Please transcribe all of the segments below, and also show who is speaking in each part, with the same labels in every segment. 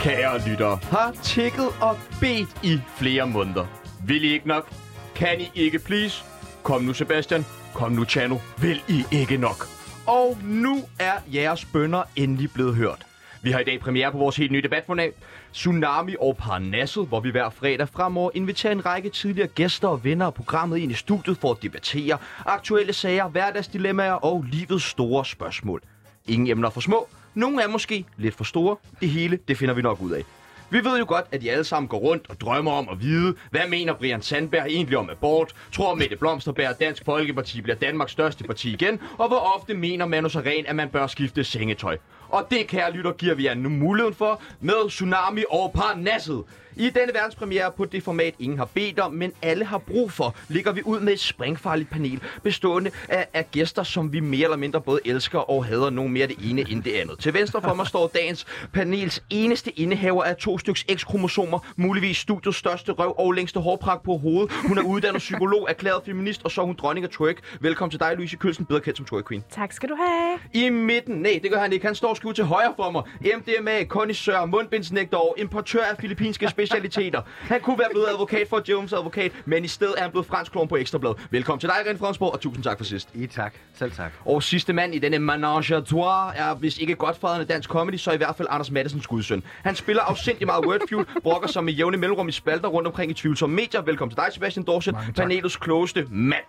Speaker 1: kære lyttere, har tækket og bedt i flere måneder. Vil I ikke nok? Kan I ikke please? Kom nu, Sebastian. Kom nu, Chano. Vil I ikke nok? Og nu er jeres bønder endelig blevet hørt. Vi har i dag premiere på vores helt nye debatformat, Tsunami og Parnasset, hvor vi hver fredag fremover inviterer en række tidligere gæster og venner af programmet ind i studiet for at debattere aktuelle sager, hverdagsdilemmaer og livets store spørgsmål. Ingen emner for små, nogle er måske lidt for store. Det hele, det finder vi nok ud af. Vi ved jo godt, at de alle sammen går rundt og drømmer om at vide, hvad mener Brian Sandberg egentlig om abort, tror Mette Blomsterberg, at Dansk Folkeparti bliver Danmarks største parti igen, og hvor ofte mener Manu Saren, at man bør skifte sengetøj. Og det, kære lytter, giver vi jer nu muligheden for med Tsunami og Parnasset. I denne verdenspremiere på det format, ingen har bedt om, men alle har brug for, ligger vi ud med et springfarligt panel, bestående af, af gæster, som vi mere eller mindre både elsker og hader nogen mere det ene end det andet. Til venstre for mig står dagens panels eneste indehaver af to styks X-kromosomer, muligvis studiets største røv og længste hårpragt på hovedet. Hun er uddannet psykolog, erklæret feminist, og så er hun dronning af twerk. Velkommen til dig, Louise Kølsen, bedre kendt som twerk queen.
Speaker 2: Tak skal du have.
Speaker 1: I midten, nej, det gør han ikke. Han står skudt til højre for mig. MDMA, kondisør, mundbindsnægter og importør af filippinske specialiteter. Han kunne være blevet advokat for Jones advokat, men i stedet er han blevet fransk klon på Ekstrablad. Velkommen til dig, Ren Fransborg, og tusind tak for sidst.
Speaker 3: I tak. Selv tak.
Speaker 1: Og sidste mand i denne menage à trois er, hvis ikke godfaderen af dansk comedy, så i hvert fald Anders Mattesens gudsøn. Han spiller afsindig meget Wordfeud, brokker sig med jævne mellemrum i spalter rundt omkring i tvivlsomme medier. Velkommen til dig, Sebastian Dorset, panelets klogeste mand.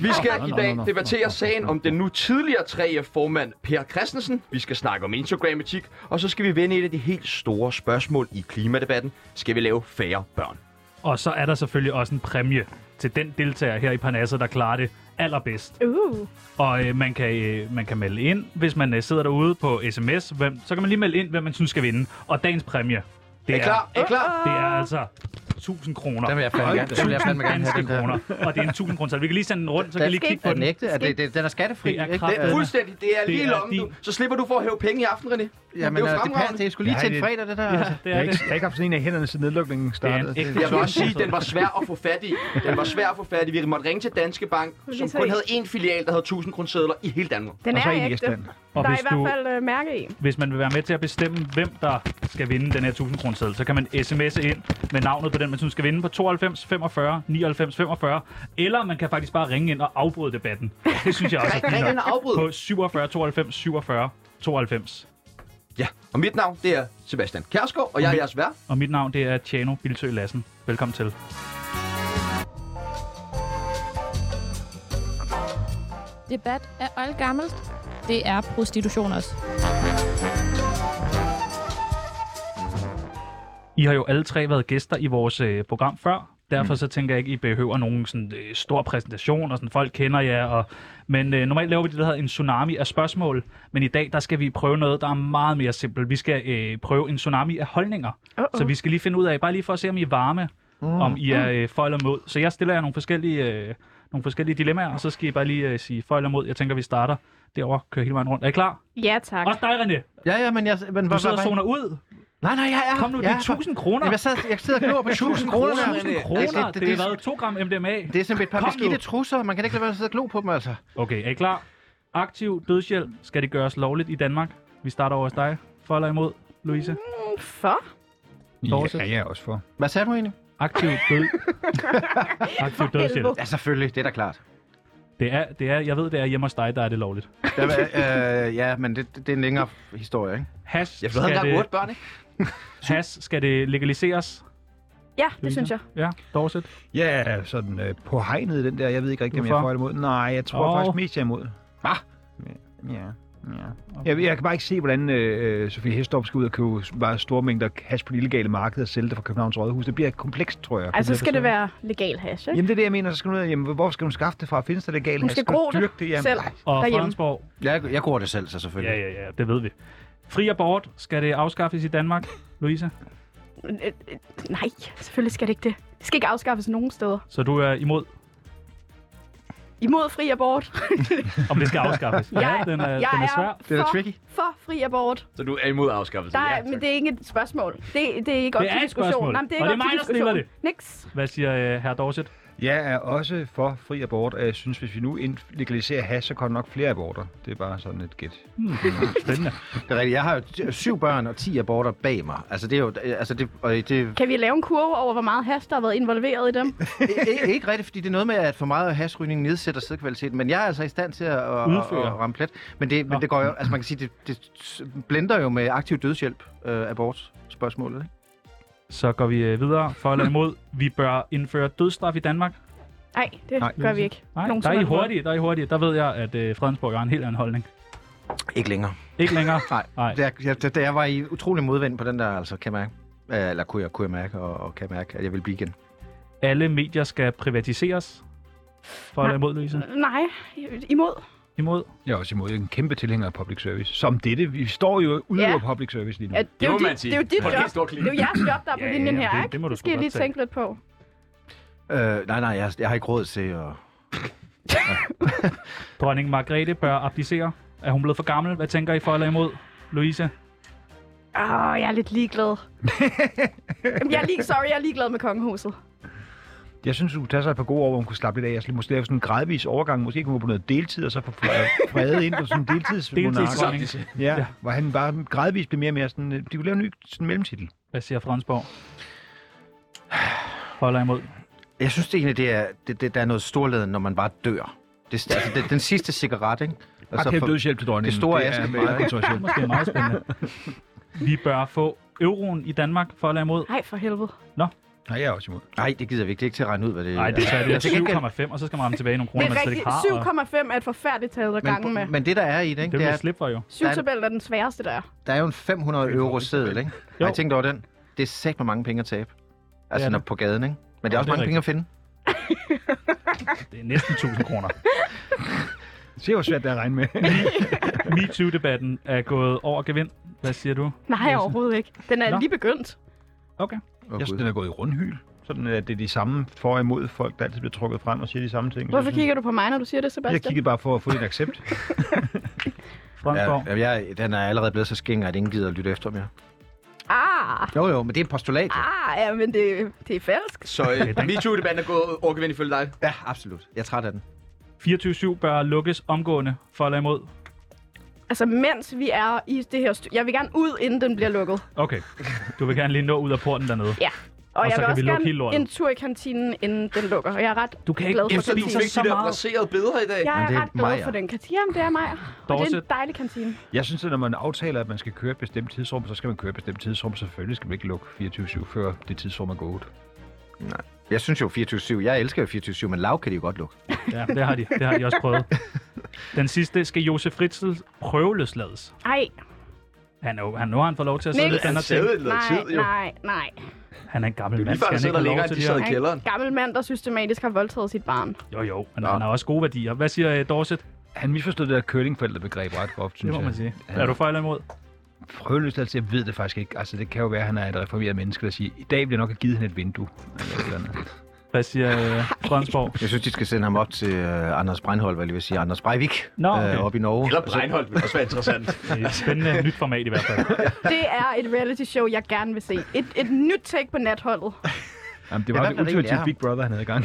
Speaker 1: Vi skal i dag debattere sagen om den nu tidligere 3F-formand Per Christensen. Vi skal snakke om Instagram-etik, og så skal vi vende et af de helt store spørgsmål i klimadebatten. Skal vi lave færre børn?
Speaker 4: Og så er der selvfølgelig også en præmie til den deltager her i Parnasset, der klarer det allerbedst.
Speaker 2: Uh,
Speaker 4: Og øh, man, kan, øh, man kan melde ind, hvis man øh, sidder derude på sms, hvem, så kan man lige melde ind, hvem man synes skal vinde. Og dagens præmie, det
Speaker 1: Er I klar? Er I klar?
Speaker 4: det er altså 1000 kroner.
Speaker 3: Den vil jeg fandme gerne, den vil jeg fandme gerne have, den
Speaker 4: Danske
Speaker 3: der.
Speaker 4: kroner. Og det er en 1000 kroner. Så vi kan lige sende den rundt, så kan
Speaker 3: Den
Speaker 4: I lige
Speaker 2: skal
Speaker 4: kigge på
Speaker 3: Er den
Speaker 4: den.
Speaker 3: ægte? Er det, det, den er skattefri,
Speaker 4: Det er
Speaker 3: ikke?
Speaker 4: kraft-
Speaker 1: Det er fuldstændig. Det er
Speaker 4: Det
Speaker 1: lige i
Speaker 4: er
Speaker 1: lommen, du.
Speaker 4: din.
Speaker 1: Så slipper du for at hæve penge i aften, René.
Speaker 3: Jamen,
Speaker 1: det er jo
Speaker 3: øh, det, passer,
Speaker 1: fremragende.
Speaker 3: det er sgu lige
Speaker 5: Ja,
Speaker 3: til en
Speaker 5: det-
Speaker 3: fredag, det der. altså.
Speaker 4: Det
Speaker 5: Jeg har
Speaker 4: er
Speaker 5: ikke,
Speaker 4: det.
Speaker 5: jeg har ikke haft sådan en af hænderne, siden nedlukningen startede.
Speaker 4: ægte-
Speaker 1: Jeg vil også sige, at den var svær at få fat i. Den var svær at få fat i. Vi måtte ringe til Danske Bank, som
Speaker 2: så
Speaker 1: kun
Speaker 2: I-
Speaker 1: havde én filial, der havde 1000 kroner i hele Danmark.
Speaker 2: den
Speaker 5: Og så
Speaker 2: er
Speaker 5: en i
Speaker 2: ægte.
Speaker 5: Estland.
Speaker 4: Og
Speaker 2: der er
Speaker 4: hvis
Speaker 2: i hvert
Speaker 4: du-
Speaker 2: fald øh, mærke i.
Speaker 4: Hvis man vil være med til at bestemme, hvem der skal vinde den her 1000 kroner seddel, så kan man sms'e ind med navnet på den, man synes skal vinde på 92 45 99 45. Eller man kan faktisk bare ringe ind og afbryde debatten. Det synes jeg også er
Speaker 1: Ring
Speaker 4: fint
Speaker 1: ind
Speaker 4: nok.
Speaker 1: og afbryd.
Speaker 4: På 47 92 47 92.
Speaker 1: Ja, og mit navn, det er Sebastian Kærskov, og jeg er
Speaker 6: Mm.
Speaker 1: jeres vært.
Speaker 4: Og mit navn det er Tjano Bilsø Lassen. Velkommen til.
Speaker 7: Debat er oldgammelt. Det er prostitution også.
Speaker 4: I har jo alle tre været gæster i vores øh, program før. Derfor så tænker jeg ikke, I behøver nogen sådan, øh, stor præsentation, og sådan, folk kender jer. Og... Men øh, normalt laver vi det, der hedder en tsunami af spørgsmål. Men i dag, der skal vi prøve noget, der er meget mere simpelt. Vi skal øh, prøve en tsunami af holdninger.
Speaker 2: Uh-oh.
Speaker 4: Så vi skal lige finde ud af, bare lige for at se, om I er varme, mm. om I er øh, for eller mod. Så jeg stiller jer nogle forskellige, øh, nogle forskellige dilemmaer, og så skal I bare lige øh, sige for eller mod. Jeg tænker, vi starter derovre, kører hele vejen rundt. Er I klar?
Speaker 2: Ja, tak.
Speaker 4: Også dig, René.
Speaker 3: Ja, ja, men jeg... Men,
Speaker 4: Du sidder og zoner ud.
Speaker 3: Nej, nej, jeg er...
Speaker 4: Kom nu, det
Speaker 3: jeg
Speaker 4: er
Speaker 3: her.
Speaker 4: 1000 kroner.
Speaker 3: Ah. Jamen, Jeg, sad, jeg sidder og glor på 1000 kroner. der.
Speaker 4: 1000
Speaker 3: Ja,
Speaker 4: kroner, Altså, det, det, det, er
Speaker 3: det,
Speaker 4: været 2 gram MDMA.
Speaker 3: det er som et par
Speaker 4: Kom nu.
Speaker 3: beskidte trusser. Man kan ikke lade være med at sidde og glo på dem, altså.
Speaker 4: Okay, er I klar? Aktiv dødshjælp, skal det gøres lovligt i Danmark? Vi starter over hos dig. For eller imod, Louise?
Speaker 2: For?
Speaker 4: Dorset.
Speaker 5: Ja, jeg er også for.
Speaker 3: Hvad sagde du egentlig?
Speaker 4: Aktiv død... Aktiv dødshjælp.
Speaker 3: Ja, selvfølgelig. Det er da klart.
Speaker 4: Det er, det er, jeg ved, det er hjemme hos dig, der er det lovligt.
Speaker 3: Der, øh, ja, men det, det, det er en længere historie, ikke?
Speaker 4: Hash,
Speaker 1: Jeg ved, han
Speaker 4: skal
Speaker 1: der er
Speaker 4: det,
Speaker 1: otte børn, ikke?
Speaker 4: hash, skal det legaliseres?
Speaker 2: Ja, det
Speaker 4: Louise?
Speaker 2: synes jeg.
Speaker 4: Ja, Dorset.
Speaker 5: Ja, sådan øh, på hegnet den der. Jeg ved ikke rigtig, om jeg er
Speaker 4: Hvorfor?
Speaker 5: for eller imod. Nej, jeg tror
Speaker 4: Åh.
Speaker 5: oh. faktisk mest, jeg er imod.
Speaker 3: Hva?
Speaker 5: Ja. ja. Jeg, jeg kan bare ikke se, hvordan øh, Sofie Hestorp skal ud og købe s- bare store mængder hash på det illegale marked og sælge det fra Københavns Rådhus. Det bliver komplekst, tror jeg.
Speaker 2: Altså,
Speaker 5: Kommer
Speaker 2: så skal det
Speaker 5: til at
Speaker 2: være legal hash,
Speaker 5: forstå.
Speaker 2: ikke?
Speaker 5: Jamen, det er det, jeg mener. Så skal hun ud af, jamen, hvor skal hun skaffe det fra? Findes der legal
Speaker 2: Hun
Speaker 5: hash?
Speaker 2: skal
Speaker 5: hun
Speaker 2: gro det
Speaker 5: dyrke det jamen.
Speaker 2: selv
Speaker 4: Og
Speaker 2: derhjemme.
Speaker 4: Fredensborg.
Speaker 3: Jeg, jeg går det selv, så selvfølgelig.
Speaker 4: Ja, ja, ja, det ved vi. Fri abort, skal det afskaffes i Danmark, Louise?
Speaker 2: Øh, øh, Nej, selvfølgelig skal det ikke det. Det skal ikke afskaffes nogen steder.
Speaker 4: Så du er imod,
Speaker 2: Imod fri abort.
Speaker 4: om det skal afskaffes?
Speaker 2: Jeg,
Speaker 4: den er,
Speaker 2: jeg
Speaker 4: den er svær.
Speaker 3: Det er da
Speaker 2: for,
Speaker 3: tricky.
Speaker 2: for fri abort.
Speaker 1: Så du er imod afskaffelsen?
Speaker 2: Der er, men det er ikke et spørgsmål. Det, det er ikke op
Speaker 4: Det er
Speaker 2: til
Speaker 4: et
Speaker 2: diskussion.
Speaker 4: spørgsmål.
Speaker 2: Nej, men det er
Speaker 4: Og
Speaker 2: ikke
Speaker 4: det er
Speaker 2: op til
Speaker 4: mig, der stiller
Speaker 2: diskussion. Niks.
Speaker 4: Hvad siger øh, herr Dorset?
Speaker 5: Jeg er også for fri abort, og jeg synes, hvis vi nu ind- legaliserer hash, så kommer nok flere aborter. Det er bare sådan et gæt.
Speaker 4: Spændende.
Speaker 3: Det er rigtigt. Jeg har jo t- syv børn og ti aborter bag mig. Altså, det er jo... Altså, det, og det,
Speaker 2: Kan vi lave en kurve over, hvor meget hash, der har været involveret i dem?
Speaker 3: ikke, ikke rigtigt, fordi det er noget med, at for meget hasrygning nedsætter sædkvaliteten, men jeg er altså i stand til at, at, at,
Speaker 4: Udføre.
Speaker 3: at ramme plet. Men det,
Speaker 4: Nå.
Speaker 3: men det går jo, altså man kan sige, det, det s- blender jo med aktiv dødshjælp, øh, abort spørgsmålet. Ikke?
Speaker 4: Så går vi øh, videre. For eller imod, vi bør indføre dødsstraf i Danmark.
Speaker 2: Nej, det
Speaker 5: Nej,
Speaker 2: Nej, gør vi ikke.
Speaker 4: Nej,
Speaker 2: Nogen
Speaker 4: der
Speaker 2: som
Speaker 4: er I
Speaker 2: helst måde.
Speaker 4: hurtige, der er I hurtige. Der ved jeg, at øh, Fredensborg har en helt anden holdning.
Speaker 3: Ikke længere.
Speaker 4: Ikke længere.
Speaker 3: Nej.
Speaker 4: Nej.
Speaker 3: Da jeg, jeg, da jeg var i utrolig modvind på den der, altså, kan jeg mærke. Øh, Eller kunne jeg, kunne jeg mærke, og, og kan jeg mærke, at jeg vil blive igen.
Speaker 4: Alle medier skal privatiseres. For eller
Speaker 2: Nej.
Speaker 4: imod, Louise?
Speaker 2: Nej, imod.
Speaker 4: Imod?
Speaker 5: Jeg er også imod en kæmpe tilhænger af public service. Som dette. Vi står jo ude
Speaker 2: Ja.
Speaker 5: ja. på public service lige nu.
Speaker 2: Ja, det, er jo
Speaker 6: må man
Speaker 2: dit,
Speaker 6: sige.
Speaker 2: det er jo dit
Speaker 6: Hold kæft,
Speaker 2: job.
Speaker 6: stor klip.
Speaker 2: Det er jo jeres job, der er på
Speaker 4: Ja, ja,
Speaker 2: linjen
Speaker 4: ja,
Speaker 2: her,
Speaker 4: det-
Speaker 2: ikke?
Speaker 4: det må du
Speaker 2: det
Speaker 4: sgu
Speaker 2: skal jeg
Speaker 4: godt
Speaker 2: lige
Speaker 4: tage.
Speaker 2: tænke lidt på.
Speaker 3: Øh, nej, nej, jeg, jeg har ikke råd til at...
Speaker 4: Dronning Margrethe bør abdicere. Er hun blevet for gammel? Hvad tænker I for eller imod? Louise?
Speaker 2: Åh, jeg er lidt ligeglad. Jamen, jeg er lige, sorry, jeg er ligeglad med kongehuset.
Speaker 5: Jeg synes, du tager sig et par gode år, hvor hun kunne slappe lidt af. Jeg skal måske lave sådan en gradvis overgang. Måske kunne hun gå på noget deltid, og så få fre- fredet ind på sådan en deltidsmonark.
Speaker 4: Deltidsdronning.
Speaker 5: Ja, ja, hvor han bare gradvist blev mere og mere sådan... øh, De kunne lave en ny sådan mellemtitel.
Speaker 4: Hvad siger Fredensborg? For eller imod?
Speaker 3: Jeg synes det egentlig, det er, det, det, der er noget storleden, når man bare dør. Det, altså, det, den sidste cigaret, ikke?
Speaker 5: Altså, Aktiv dødshjælp til dronningen.
Speaker 3: Det store
Speaker 5: er
Speaker 3: Askepot.
Speaker 5: meget kontroversielt.
Speaker 4: Måske meget spændende. Vi bør få euroen i Danmark for eller imod.
Speaker 2: Nej, for helvede.
Speaker 5: Nej, jeg er også imod.
Speaker 3: Nej, det gider vi ikke. Det er ikke til at regne ud, hvad det altså.
Speaker 4: Nej, det er svært.
Speaker 3: Jeg
Speaker 4: Det
Speaker 3: tænker ikke, at-
Speaker 4: er 7,5, og så skal man ramme tilbage i nogle
Speaker 2: Det
Speaker 4: kroner,
Speaker 2: er
Speaker 4: man slet
Speaker 2: rigtigt.
Speaker 4: ikke har.
Speaker 2: 7,5
Speaker 4: og
Speaker 2: er et forfærdeligt tal at gange med.
Speaker 3: men, men det, der er i det,
Speaker 4: Det
Speaker 3: ikke?
Speaker 4: vil
Speaker 3: det er,
Speaker 4: man slippe for jo.
Speaker 2: 7-tabellen er den sværeste, der er.
Speaker 3: der er jo en 500 euro seddel, ikke? Har I tænkt over den? Det er sæt med mange penge at tabe.
Speaker 4: Det er
Speaker 3: Altså når
Speaker 4: det.
Speaker 3: på gaden, ikke? Men det er også
Speaker 4: det er
Speaker 3: mange penge at finde.
Speaker 4: Det er næsten 1000 kroner.
Speaker 5: Se, hvor svært det er at regne med.
Speaker 4: MeToo-debatten er gået over gevind. Hvad siger du?
Speaker 2: Nej, overhovedet ikke. Den er
Speaker 4: Nå.
Speaker 2: lige begyndt.
Speaker 3: Oh,
Speaker 5: Jeg synes, den er gået i rundhyl. Sådan øh, at det er de samme for og imod folk, der altid bliver trukket frem og siger de samme ting. Så
Speaker 2: Hvorfor
Speaker 5: jeg synes-
Speaker 2: kigger du på mig, når du siger det, Sebastian?
Speaker 5: Jeg kiggede bare for at få en accept.
Speaker 4: Fredensborg?
Speaker 3: ja, jeg, den er allerede blevet så skænger, at ingen gider at lytte efter mere.
Speaker 2: Ah,
Speaker 3: Jo jo, men det er et postulat. jo.
Speaker 2: ah, ja, men det, det er falsk.
Speaker 6: Så øh, MeToo-debatten er gået overgevind ifølge dig.
Speaker 3: Ja, absolut. Jeg er træt af den.
Speaker 4: 24-7 bør lukkes omgående for eller imod.
Speaker 2: Altså, mens vi er i det her... Stu- jeg vil gerne ud, inden den bliver lukket.
Speaker 4: Okay. Du vil gerne lige nå ud af porten dernede.
Speaker 2: Ja. Og,
Speaker 4: Og
Speaker 2: jeg
Speaker 4: så
Speaker 2: vil
Speaker 4: kan
Speaker 2: også
Speaker 4: vi lukke
Speaker 2: gerne
Speaker 4: hele lortet.
Speaker 2: en tur i kantinen, inden den lukker. Og jeg er ret
Speaker 4: Du kan ikke-
Speaker 2: glad for
Speaker 6: Efter du
Speaker 2: kantinen.
Speaker 6: fik de
Speaker 4: så
Speaker 6: der
Speaker 4: meget.
Speaker 6: placerede billeder i dag.
Speaker 2: Jeg
Speaker 3: Men det
Speaker 2: er
Speaker 3: er
Speaker 2: ret glad
Speaker 3: Maja.
Speaker 2: for den kantine. Jamen, det er mig. Og det er en
Speaker 4: Dorset.
Speaker 2: dejlig kantine.
Speaker 5: Jeg synes, at når man aftaler, at man skal køre et bestemt tidsrum, så skal man køre et bestemt tidsrum. Selvfølgelig skal man ikke lukke 24-7, før det tidsrum er gået.
Speaker 3: Jeg synes jo 24-7. Jeg elsker jo 24-7, men lav kan de jo godt lukke.
Speaker 4: Ja, det har de. Det har de også prøvet. Den sidste skal Josef Fritzl prøveløslades.
Speaker 2: Ej,
Speaker 4: Han er jo, han, nu har han fået lov til at sidde
Speaker 2: Niels.
Speaker 4: lidt
Speaker 6: Han
Speaker 4: andet til.
Speaker 6: sad i noget
Speaker 2: nej,
Speaker 6: tid, jo.
Speaker 2: nej, nej.
Speaker 4: Han er en gammel
Speaker 6: Lige
Speaker 4: mand.
Speaker 6: før
Speaker 4: Skal
Speaker 6: han
Speaker 4: han ikke
Speaker 6: sidder
Speaker 4: have
Speaker 6: længere,
Speaker 4: lov
Speaker 6: end
Speaker 4: til
Speaker 6: de
Speaker 4: lige
Speaker 6: sad
Speaker 4: at...
Speaker 6: i kælderen.
Speaker 2: Gammel mand, der systematisk har voldtaget sit barn.
Speaker 4: Jo, jo. Men han har også gode værdier. Hvad siger uh, Dorset?
Speaker 5: Han misforstod det der curlingforældrebegreb ret groft,
Speaker 4: Det
Speaker 5: synes
Speaker 4: må
Speaker 5: jeg.
Speaker 4: man sige.
Speaker 5: Ja.
Speaker 4: Er du for eller imod?
Speaker 5: Prøveløst, altså, jeg ved det faktisk ikke. Altså, det kan jo være, at han er et reformeret menneske, der siger, i dag bliver nok have givet hende et vindue. Eller et eller andet.
Speaker 4: Hvad siger uh, Fredensborg?
Speaker 3: Jeg synes, de skal sende ham op til øh, Anders Breinholt, hvad jeg lige vil sige. Anders Breivik.
Speaker 4: Nå, okay.
Speaker 3: øh, op i Norge.
Speaker 6: Eller Breinholt, det også være interessant.
Speaker 4: Det er et spændende nyt format i hvert fald.
Speaker 2: Det er et reality show, jeg gerne vil se. Et, et nyt take på natholdet.
Speaker 5: Jamen, det
Speaker 3: Ja,
Speaker 5: var
Speaker 3: hvad
Speaker 5: ja, det
Speaker 3: var det egentlig
Speaker 5: ultimative
Speaker 3: af
Speaker 5: Big Brother, han havde gang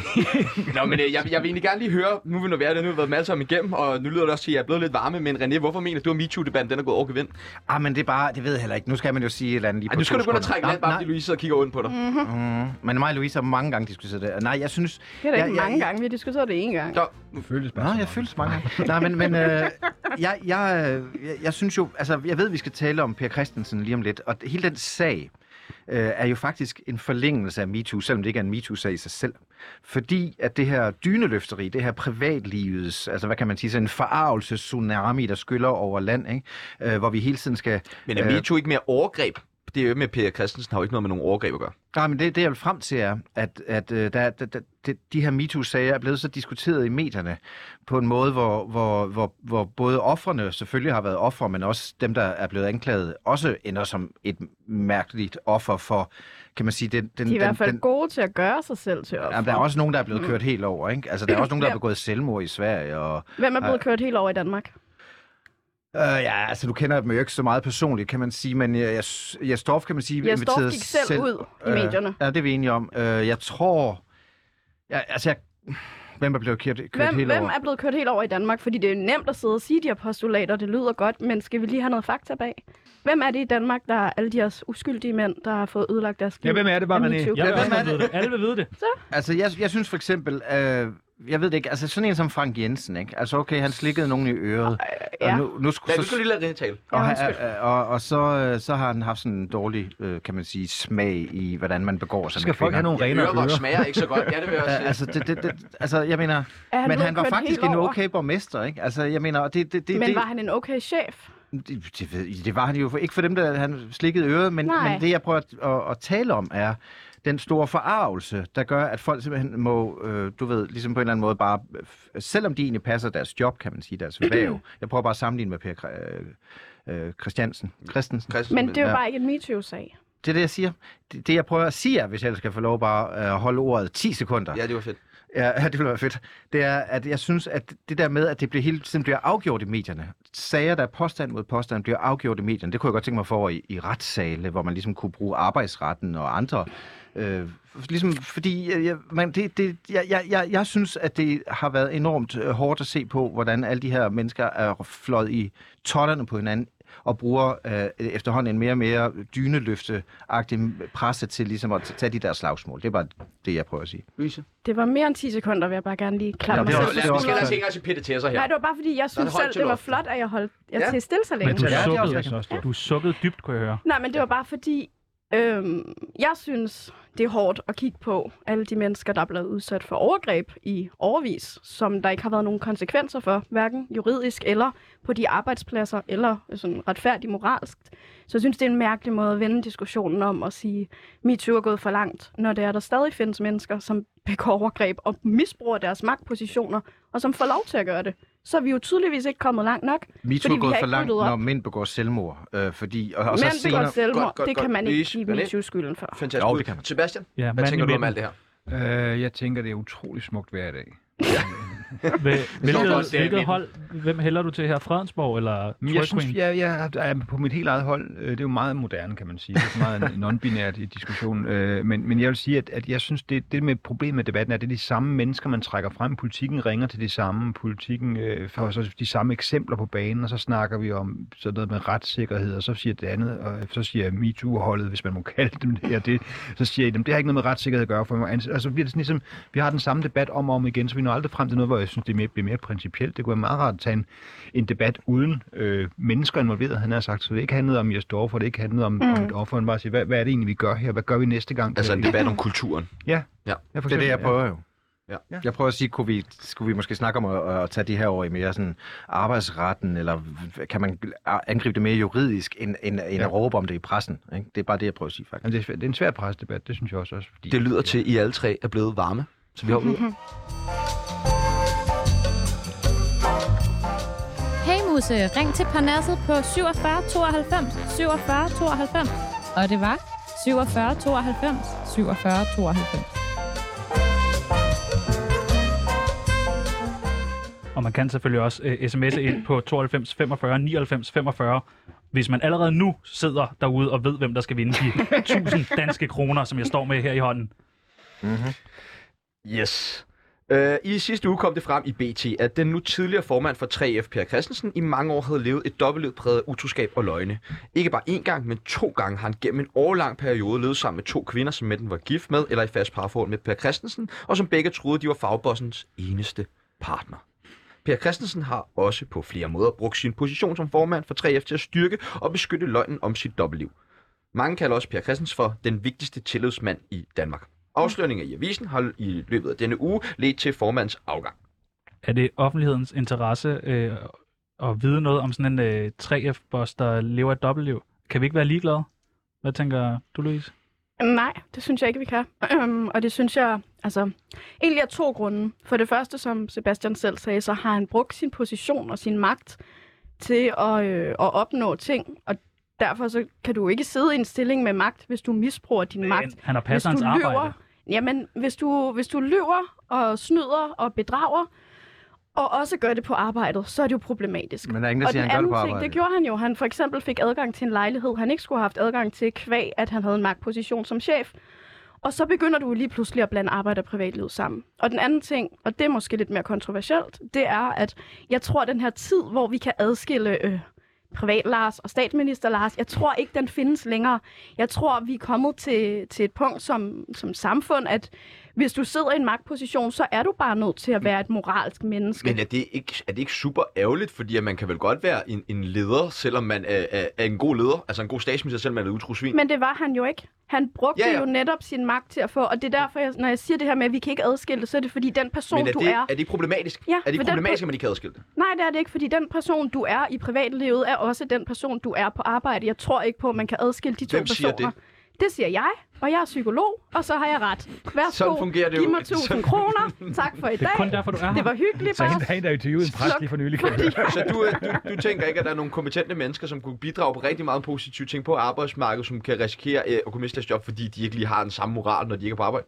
Speaker 5: i.
Speaker 6: Nå, men øh, jeg, jeg vil egentlig gerne lige høre, nu er vi nået været det, nu har vi været med alle sammen igennem, og nu lyder det også til, at jeg er blevet lidt varme, men René, hvorfor mener du, at MeToo-debatten den er gået overgevind?
Speaker 3: Ah, men det er bare, det ved jeg heller ikke. Nu skal man jo sige et eller andet lige
Speaker 6: Ej,
Speaker 3: på
Speaker 6: nu skal
Speaker 3: to
Speaker 6: du begynde at
Speaker 3: sekunder.
Speaker 6: trække land,
Speaker 3: Nej,
Speaker 6: bare fordi Louise sidder og kigger ondt på dig. Mm.
Speaker 3: nej. Men mig og Louise har mange gange diskuteret det. Nej, jeg synes...
Speaker 2: Det er da
Speaker 3: jeg,
Speaker 2: ikke
Speaker 3: jeg,
Speaker 2: mange gange, vi har diskuteret det én gang.
Speaker 6: Nå,
Speaker 5: Føles bare
Speaker 3: Nå,
Speaker 5: så
Speaker 3: jeg
Speaker 5: meget.
Speaker 3: føles mange gange. Nej, men, men øh, jeg, jeg, øh, jeg, jeg synes jo... Altså, jeg ved, vi skal tale om Per Christensen lige om lidt, og hele den sag øh, er jo faktisk en forlængelse af MeToo, selvom det ikke er en MeToo-sag i sig selv. Fordi at det her dyneløfteri, det her privatlivets, altså hvad kan man sige, sådan en forarvelses tsunami, der skyller over land, ikke? Øh, hvor vi hele tiden skal...
Speaker 6: men er
Speaker 3: øh,
Speaker 6: MeToo ikke mere overgreb? Det er jo med Per Christensen, har jo ikke noget med nogen overgreb at gøre.
Speaker 3: Nej, men det, det jeg vil frem til er, at, at øh, der, der, der, de, de her MeToo-sager er blevet så diskuteret i medierne på en måde, hvor, hvor, hvor, hvor både offrene selvfølgelig har været ofre, men også dem, der er blevet anklaget, også ender som et mærkeligt offer for, kan man sige, den... den
Speaker 2: De er i
Speaker 3: den,
Speaker 2: hvert fald
Speaker 3: den,
Speaker 2: gode til at gøre sig selv til
Speaker 3: Jamen, der er
Speaker 2: offer.
Speaker 3: også nogen, der er blevet kørt helt over, ikke? Altså, der er også nogen, der har
Speaker 2: Ja.
Speaker 3: begået selvmord i Sverige, og...
Speaker 2: Hvem er blevet kørt helt over i Danmark?
Speaker 3: Øh, ja, altså, du kender dem jo ikke så meget personligt, kan man sige, men øh, jeg, jeg, jeg Storff, kan man sige, Øh,
Speaker 2: Jeg Storff gik selv ud i medierne.
Speaker 3: Ja, det er vi enige om. Øh, jeg tror... Jeg, altså, jeg Hvem er blevet kørt, kørt
Speaker 2: Hvem,
Speaker 3: hele
Speaker 2: hvem
Speaker 3: over?
Speaker 2: er blevet kørt helt over i Danmark? Fordi det er jo nemt at sidde og sige de her postulater, det lyder godt, men skal vi lige have noget fakta bag? Hvem er det i Danmark, der er alle de her uskyldige mænd, der har fået ødelagt deres liv?
Speaker 5: Ja, hvem er det bare,
Speaker 2: af
Speaker 5: René?
Speaker 2: MeToo?
Speaker 4: Jeg vil
Speaker 3: hvem
Speaker 4: også
Speaker 3: er
Speaker 4: godt vide det. Alle vil vide det.
Speaker 3: Altså, jeg, jeg synes for eksempel, øh, jeg ved det ikke, altså sådan en som Frank Jensen, ikke? Altså, okay, han slikkede nogen i øret.
Speaker 2: ja.
Speaker 3: Og nu, nu skulle,
Speaker 6: Nej, du skal lige lade René tale.
Speaker 3: og, og, og, og så, øh, så har han haft sådan en dårlig, øh, kan man sige, smag i, hvordan man begår sig
Speaker 5: Så skal
Speaker 3: med
Speaker 5: folk
Speaker 3: kvinder.
Speaker 5: have nogle renere
Speaker 6: Ørevoks
Speaker 5: ører.
Speaker 6: smager ikke så godt. Ja, det vil jeg også
Speaker 3: Øh,
Speaker 6: sige.
Speaker 3: altså, det, det, det, altså, jeg mener,
Speaker 2: Er
Speaker 3: men
Speaker 2: blevet
Speaker 3: han var
Speaker 2: kørt
Speaker 3: faktisk
Speaker 2: helt
Speaker 3: en
Speaker 2: over?
Speaker 3: okay borgmester, ikke? Altså, jeg mener, og det, det, det,
Speaker 2: Men
Speaker 3: det,
Speaker 2: var han en okay chef?
Speaker 3: det, det, ved- det var han jo for, ikke for dem, der han slikkede øret, men,
Speaker 2: Nej.
Speaker 3: men det, jeg prøver at, at, at tale om, er den store forarvelse, der gør, at folk simpelthen må, øh, du ved, ligesom på en eller anden måde bare, øh, selvom de egentlig passer deres job, kan man sige, deres væv. Jeg prøver bare at sammenligne med Per Kr- øh, øh, Christiansen. Christensen.
Speaker 6: Christensen,
Speaker 2: Men det er jo
Speaker 3: Ja.
Speaker 2: bare ikke en MeToo-sag.
Speaker 3: Det er det, jeg siger. Det, det jeg prøver at sige, er, hvis jeg skal få lov bare at øh, holde ordet 10 sekunder,
Speaker 6: Ja, det var fedt.
Speaker 3: Ja, det ville være fedt. Det er, at jeg synes, at det der med, at det bliver hele tiden bliver afgjort i medierne. Sager, der er påstand mod påstand, bliver afgjort i medierne. Det kunne jeg godt tænke mig for i, i retssale, hvor man ligesom kunne bruge arbejdsretten og andre. Øh, ligesom, fordi øh, jeg, man, det, det, jeg, jeg, jeg, jeg synes, at det har været enormt øh, hårdt at se på, hvordan alle de her mennesker er fløjet i totterne på hinanden og bruger øh, efterhånden en mere og mere dyneløfte-agtig presse til ligesom at tage de der slagsmål. Det er bare det, jeg prøver at sige.
Speaker 6: Louise.
Speaker 2: Det var mere end 10 sekunder, vil jeg bare gerne lige
Speaker 3: Ja,
Speaker 2: klappe
Speaker 3: det
Speaker 2: mig
Speaker 3: er
Speaker 2: selv.
Speaker 3: også-
Speaker 6: Lad, vi skal lade os ikke engang sige pitte til sig her.
Speaker 2: Nej, det var bare fordi, jeg
Speaker 6: det
Speaker 2: synes
Speaker 6: højt
Speaker 2: selv,
Speaker 6: til
Speaker 2: det var
Speaker 6: luften.
Speaker 2: flot, at jeg holdt jeg
Speaker 6: Ja.
Speaker 2: ja. til stille så længe.
Speaker 4: Men du
Speaker 3: det er også
Speaker 4: sukkede,
Speaker 3: rigtig
Speaker 4: du sukkede dybt, kunne jeg høre.
Speaker 2: Nej, men det var bare fordi, øhm, jeg synes, det er hårdt at kigge på alle de mennesker, der er blevet udsat for overgreb i overvis, som der ikke har været nogen konsekvenser for, hverken juridisk eller på de arbejdspladser, eller øh, sådan retfærdigt moralsk. Så jeg synes, det er en mærkelig måde at vende diskussionen om og sige, MeToo er gået for langt, når det er, der stadig findes mennesker, som begår overgreb og misbruger deres magtpositioner, og som får lov til at gøre det. Så er vi jo tydeligvis ikke kommet langt nok,
Speaker 3: MeToo
Speaker 2: fordi
Speaker 3: er
Speaker 2: vi
Speaker 3: gået
Speaker 2: har
Speaker 3: for
Speaker 2: ikke
Speaker 3: langt,
Speaker 2: ryddet op.
Speaker 3: når mænd begår selvmord. Øh, fordi, og, og
Speaker 2: Og
Speaker 3: så
Speaker 2: Mænd begår
Speaker 3: senere,
Speaker 2: selvmord,
Speaker 6: Godt, godt,
Speaker 2: det
Speaker 6: godt.
Speaker 2: kan man ikke
Speaker 6: Please,
Speaker 2: give
Speaker 6: René.
Speaker 2: MeToo skylden for.
Speaker 6: Fantastisk.
Speaker 3: Jo, det kan man.
Speaker 6: Sebastian,
Speaker 4: Ja,
Speaker 6: hvad
Speaker 4: mand
Speaker 6: tænker
Speaker 4: i
Speaker 6: du om
Speaker 4: midten.
Speaker 6: alt det her?
Speaker 5: Øh, jeg tænker, det er utrolig smukt hver dag.
Speaker 4: Hvil-
Speaker 6: står godt
Speaker 4: Hvilket,
Speaker 6: der i midten.
Speaker 4: hvilket hold, hvem hælder du til her? Fredensborg eller
Speaker 5: Men jeg synes,
Speaker 4: Trøjqueen?
Speaker 5: jeg, jeg er på mit helt eget hold. øh, Det er jo meget moderne, kan man sige. Det er meget non-binært i diskussionen. øh, Men, men jeg vil sige, at, at jeg synes, det, det med problemet med debatten er, at det er de samme mennesker, man trækker frem. Politikken ringer til de samme. Politikken øh, får så de samme eksempler på banen, og så snakker vi om sådan noget med retssikkerhed, og så siger det andet, og så siger øh, MeToo-holdet, hvis man må kalde dem det, og det, så siger de, det har ikke noget med retssikkerhed at gøre. For mig. Og så bliver det sådan ligesom, vi har den samme debat om og om igen, så vi når aldrig frem til noget, hvor jeg synes, det er mere, bliver mere principielt. Det kunne være meget rart at tage en, en debat uden øh, mennesker involveret, han har sagt. Så det ikke handlede om Jes Dorf, og det ikke handlede om, mm. om et offer, men bare sige, hvad, hvad er det egentlig, vi gør her? Hvad gør vi næste gang?
Speaker 6: Altså en
Speaker 5: ja,
Speaker 6: debat om kulturen.
Speaker 5: ja, for
Speaker 3: det er det, jeg
Speaker 5: eksempel,
Speaker 3: prøver jo.
Speaker 6: Ja.
Speaker 5: Ja.
Speaker 3: Jeg prøver at sige, kunne vi, skulle vi måske snakke om at, at tage de her over i mere sådan arbejdsretten, eller h- kan man angribe det mere juridisk, end, end, end
Speaker 5: Ja.
Speaker 3: at råbe om det i pressen? Ikke? Det er bare det, jeg prøver at sige,
Speaker 5: Ja. Jamen,
Speaker 3: faktisk.
Speaker 5: det, er, svæ- det er en svær presdebat, det synes jeg også. også fordi,
Speaker 6: Det lyder til, at I alle tre er blevet varme. Så vi har
Speaker 2: Mm-hmm.
Speaker 6: ud.
Speaker 7: Hey Muse, ring til Parnasset på 47 92 47 92. Og det var 47 92 47 92.
Speaker 4: Og man kan selvfølgelig også uh, sms'e ind på 92 45 99 45, hvis man allerede nu sidder derude og ved, hvem der skal vinde de 1000 danske kroner, som jeg står med her i hånden.
Speaker 6: Yes. Øh, I sidste uge kom det frem i BT, at den nu tidligere formand for 3F, Per Christensen, i mange år havde levet et dobbeltliv præget af utroskab og løgne. Ikke bare én gang, men to gange har han gennem en årlang periode levet sammen med to kvinder, som enten var gift med eller i fast parforhold med Per Christensen, og som begge troede, de var fagbossens eneste partner. Per Christensen har også på flere måder brugt sin position som formand for 3F til at styrke og beskytte løgnen om sit dobbeltliv. Mange kalder også Per Christensen for den vigtigste tillidsmand i Danmark. Afsløringer i avisen har i løbet af denne uge ledt til formandens afgang.
Speaker 4: Er det offentlighedens interesse øh, at vide noget om sådan en øh, 3F-boss, der lever et dobbeltliv? Kan vi ikke være ligeglade? Hvad tænker du, Louise?
Speaker 2: Nej, det synes jeg ikke, vi kan. Øhm, og det synes jeg, altså, egentlig af to grunde. For det første, som Sebastian selv sagde, så har han brugt sin position og sin magt til at, øh, at opnå ting, og derfor så kan du ikke sidde i en stilling med magt, hvis du misbruger din magt.
Speaker 4: Han- Han har passet hans
Speaker 2: lyver,
Speaker 4: arbejde.
Speaker 2: jamen, hvis du, hvis du lyver og snyder og bedrager, og også gør det på arbejdet, så er det jo problematisk.
Speaker 3: Men der er ingen, der
Speaker 2: og
Speaker 3: siger,
Speaker 2: den
Speaker 3: at han gør det på
Speaker 2: anden ting,
Speaker 3: arbejde.
Speaker 2: det gjorde han jo. Han for eksempel fik adgang til en lejlighed, han ikke skulle have haft adgang til, kvæg, at han havde en magtposition som chef. Og så begynder du lige pludselig at blande arbejde og privatliv sammen. Og den anden ting, og det er måske lidt mere kontroversielt, det er, at jeg tror, at den her tid, hvor vi kan adskille øh, privat Lars og statsminister Lars, jeg tror ikke, den findes længere. Jeg tror, vi er kommet til, til et punkt som, som samfund, at hvis du sidder i en magtposition, så er du bare nødt til at være et moralsk menneske.
Speaker 1: Men er det, ikke, er det ikke super ærgerligt, fordi at man kan vel godt være en, en leder, selvom man er, er, er en god leder, altså en god statsminister, selvom man er et utro svin?
Speaker 2: Men det var han jo ikke. Han brugte
Speaker 1: Ja,
Speaker 2: ja,
Speaker 1: ja.
Speaker 2: ja. jo netop sin magt til at få, og det er derfor, jeg, når jeg siger det her med, at vi kan ikke adskille det, så er det fordi den person,
Speaker 1: Men er
Speaker 2: du
Speaker 1: det,
Speaker 2: er...
Speaker 1: er det ikke problematisk?
Speaker 2: Ja,
Speaker 1: er det ikke
Speaker 2: men den-
Speaker 1: problematisk, at man ikke kan adskille det?
Speaker 2: Nej, det er det ikke, fordi den person, du er i privatlivet, er også den person, du er på arbejde. Jeg tror ikke på, at man kan adskille de to
Speaker 1: Hvem siger
Speaker 2: personer. det? det siger jeg, og jeg er psykolog, og så har jeg ret. Værsgo,
Speaker 1: Sådan fungerer det
Speaker 2: giv
Speaker 1: jo.
Speaker 2: mig 1000 kroner. Tak for i
Speaker 4: Det er kun
Speaker 2: dag.
Speaker 4: derfor, du er her.
Speaker 2: Det var hyggeligt,
Speaker 5: Så er
Speaker 2: bare.
Speaker 5: der en, der interviewede en præst lige for nylig. kan jeg høre.
Speaker 1: Så du, øh, du, du tænker ikke, at der er nogle kompetente mennesker, som kunne bidrage på rigtig meget positive ting på arbejdsmarkedet, som kan risikere øh, at kunne miste deres job, fordi de ikke lige har den samme moral, når de ikke er på arbejde?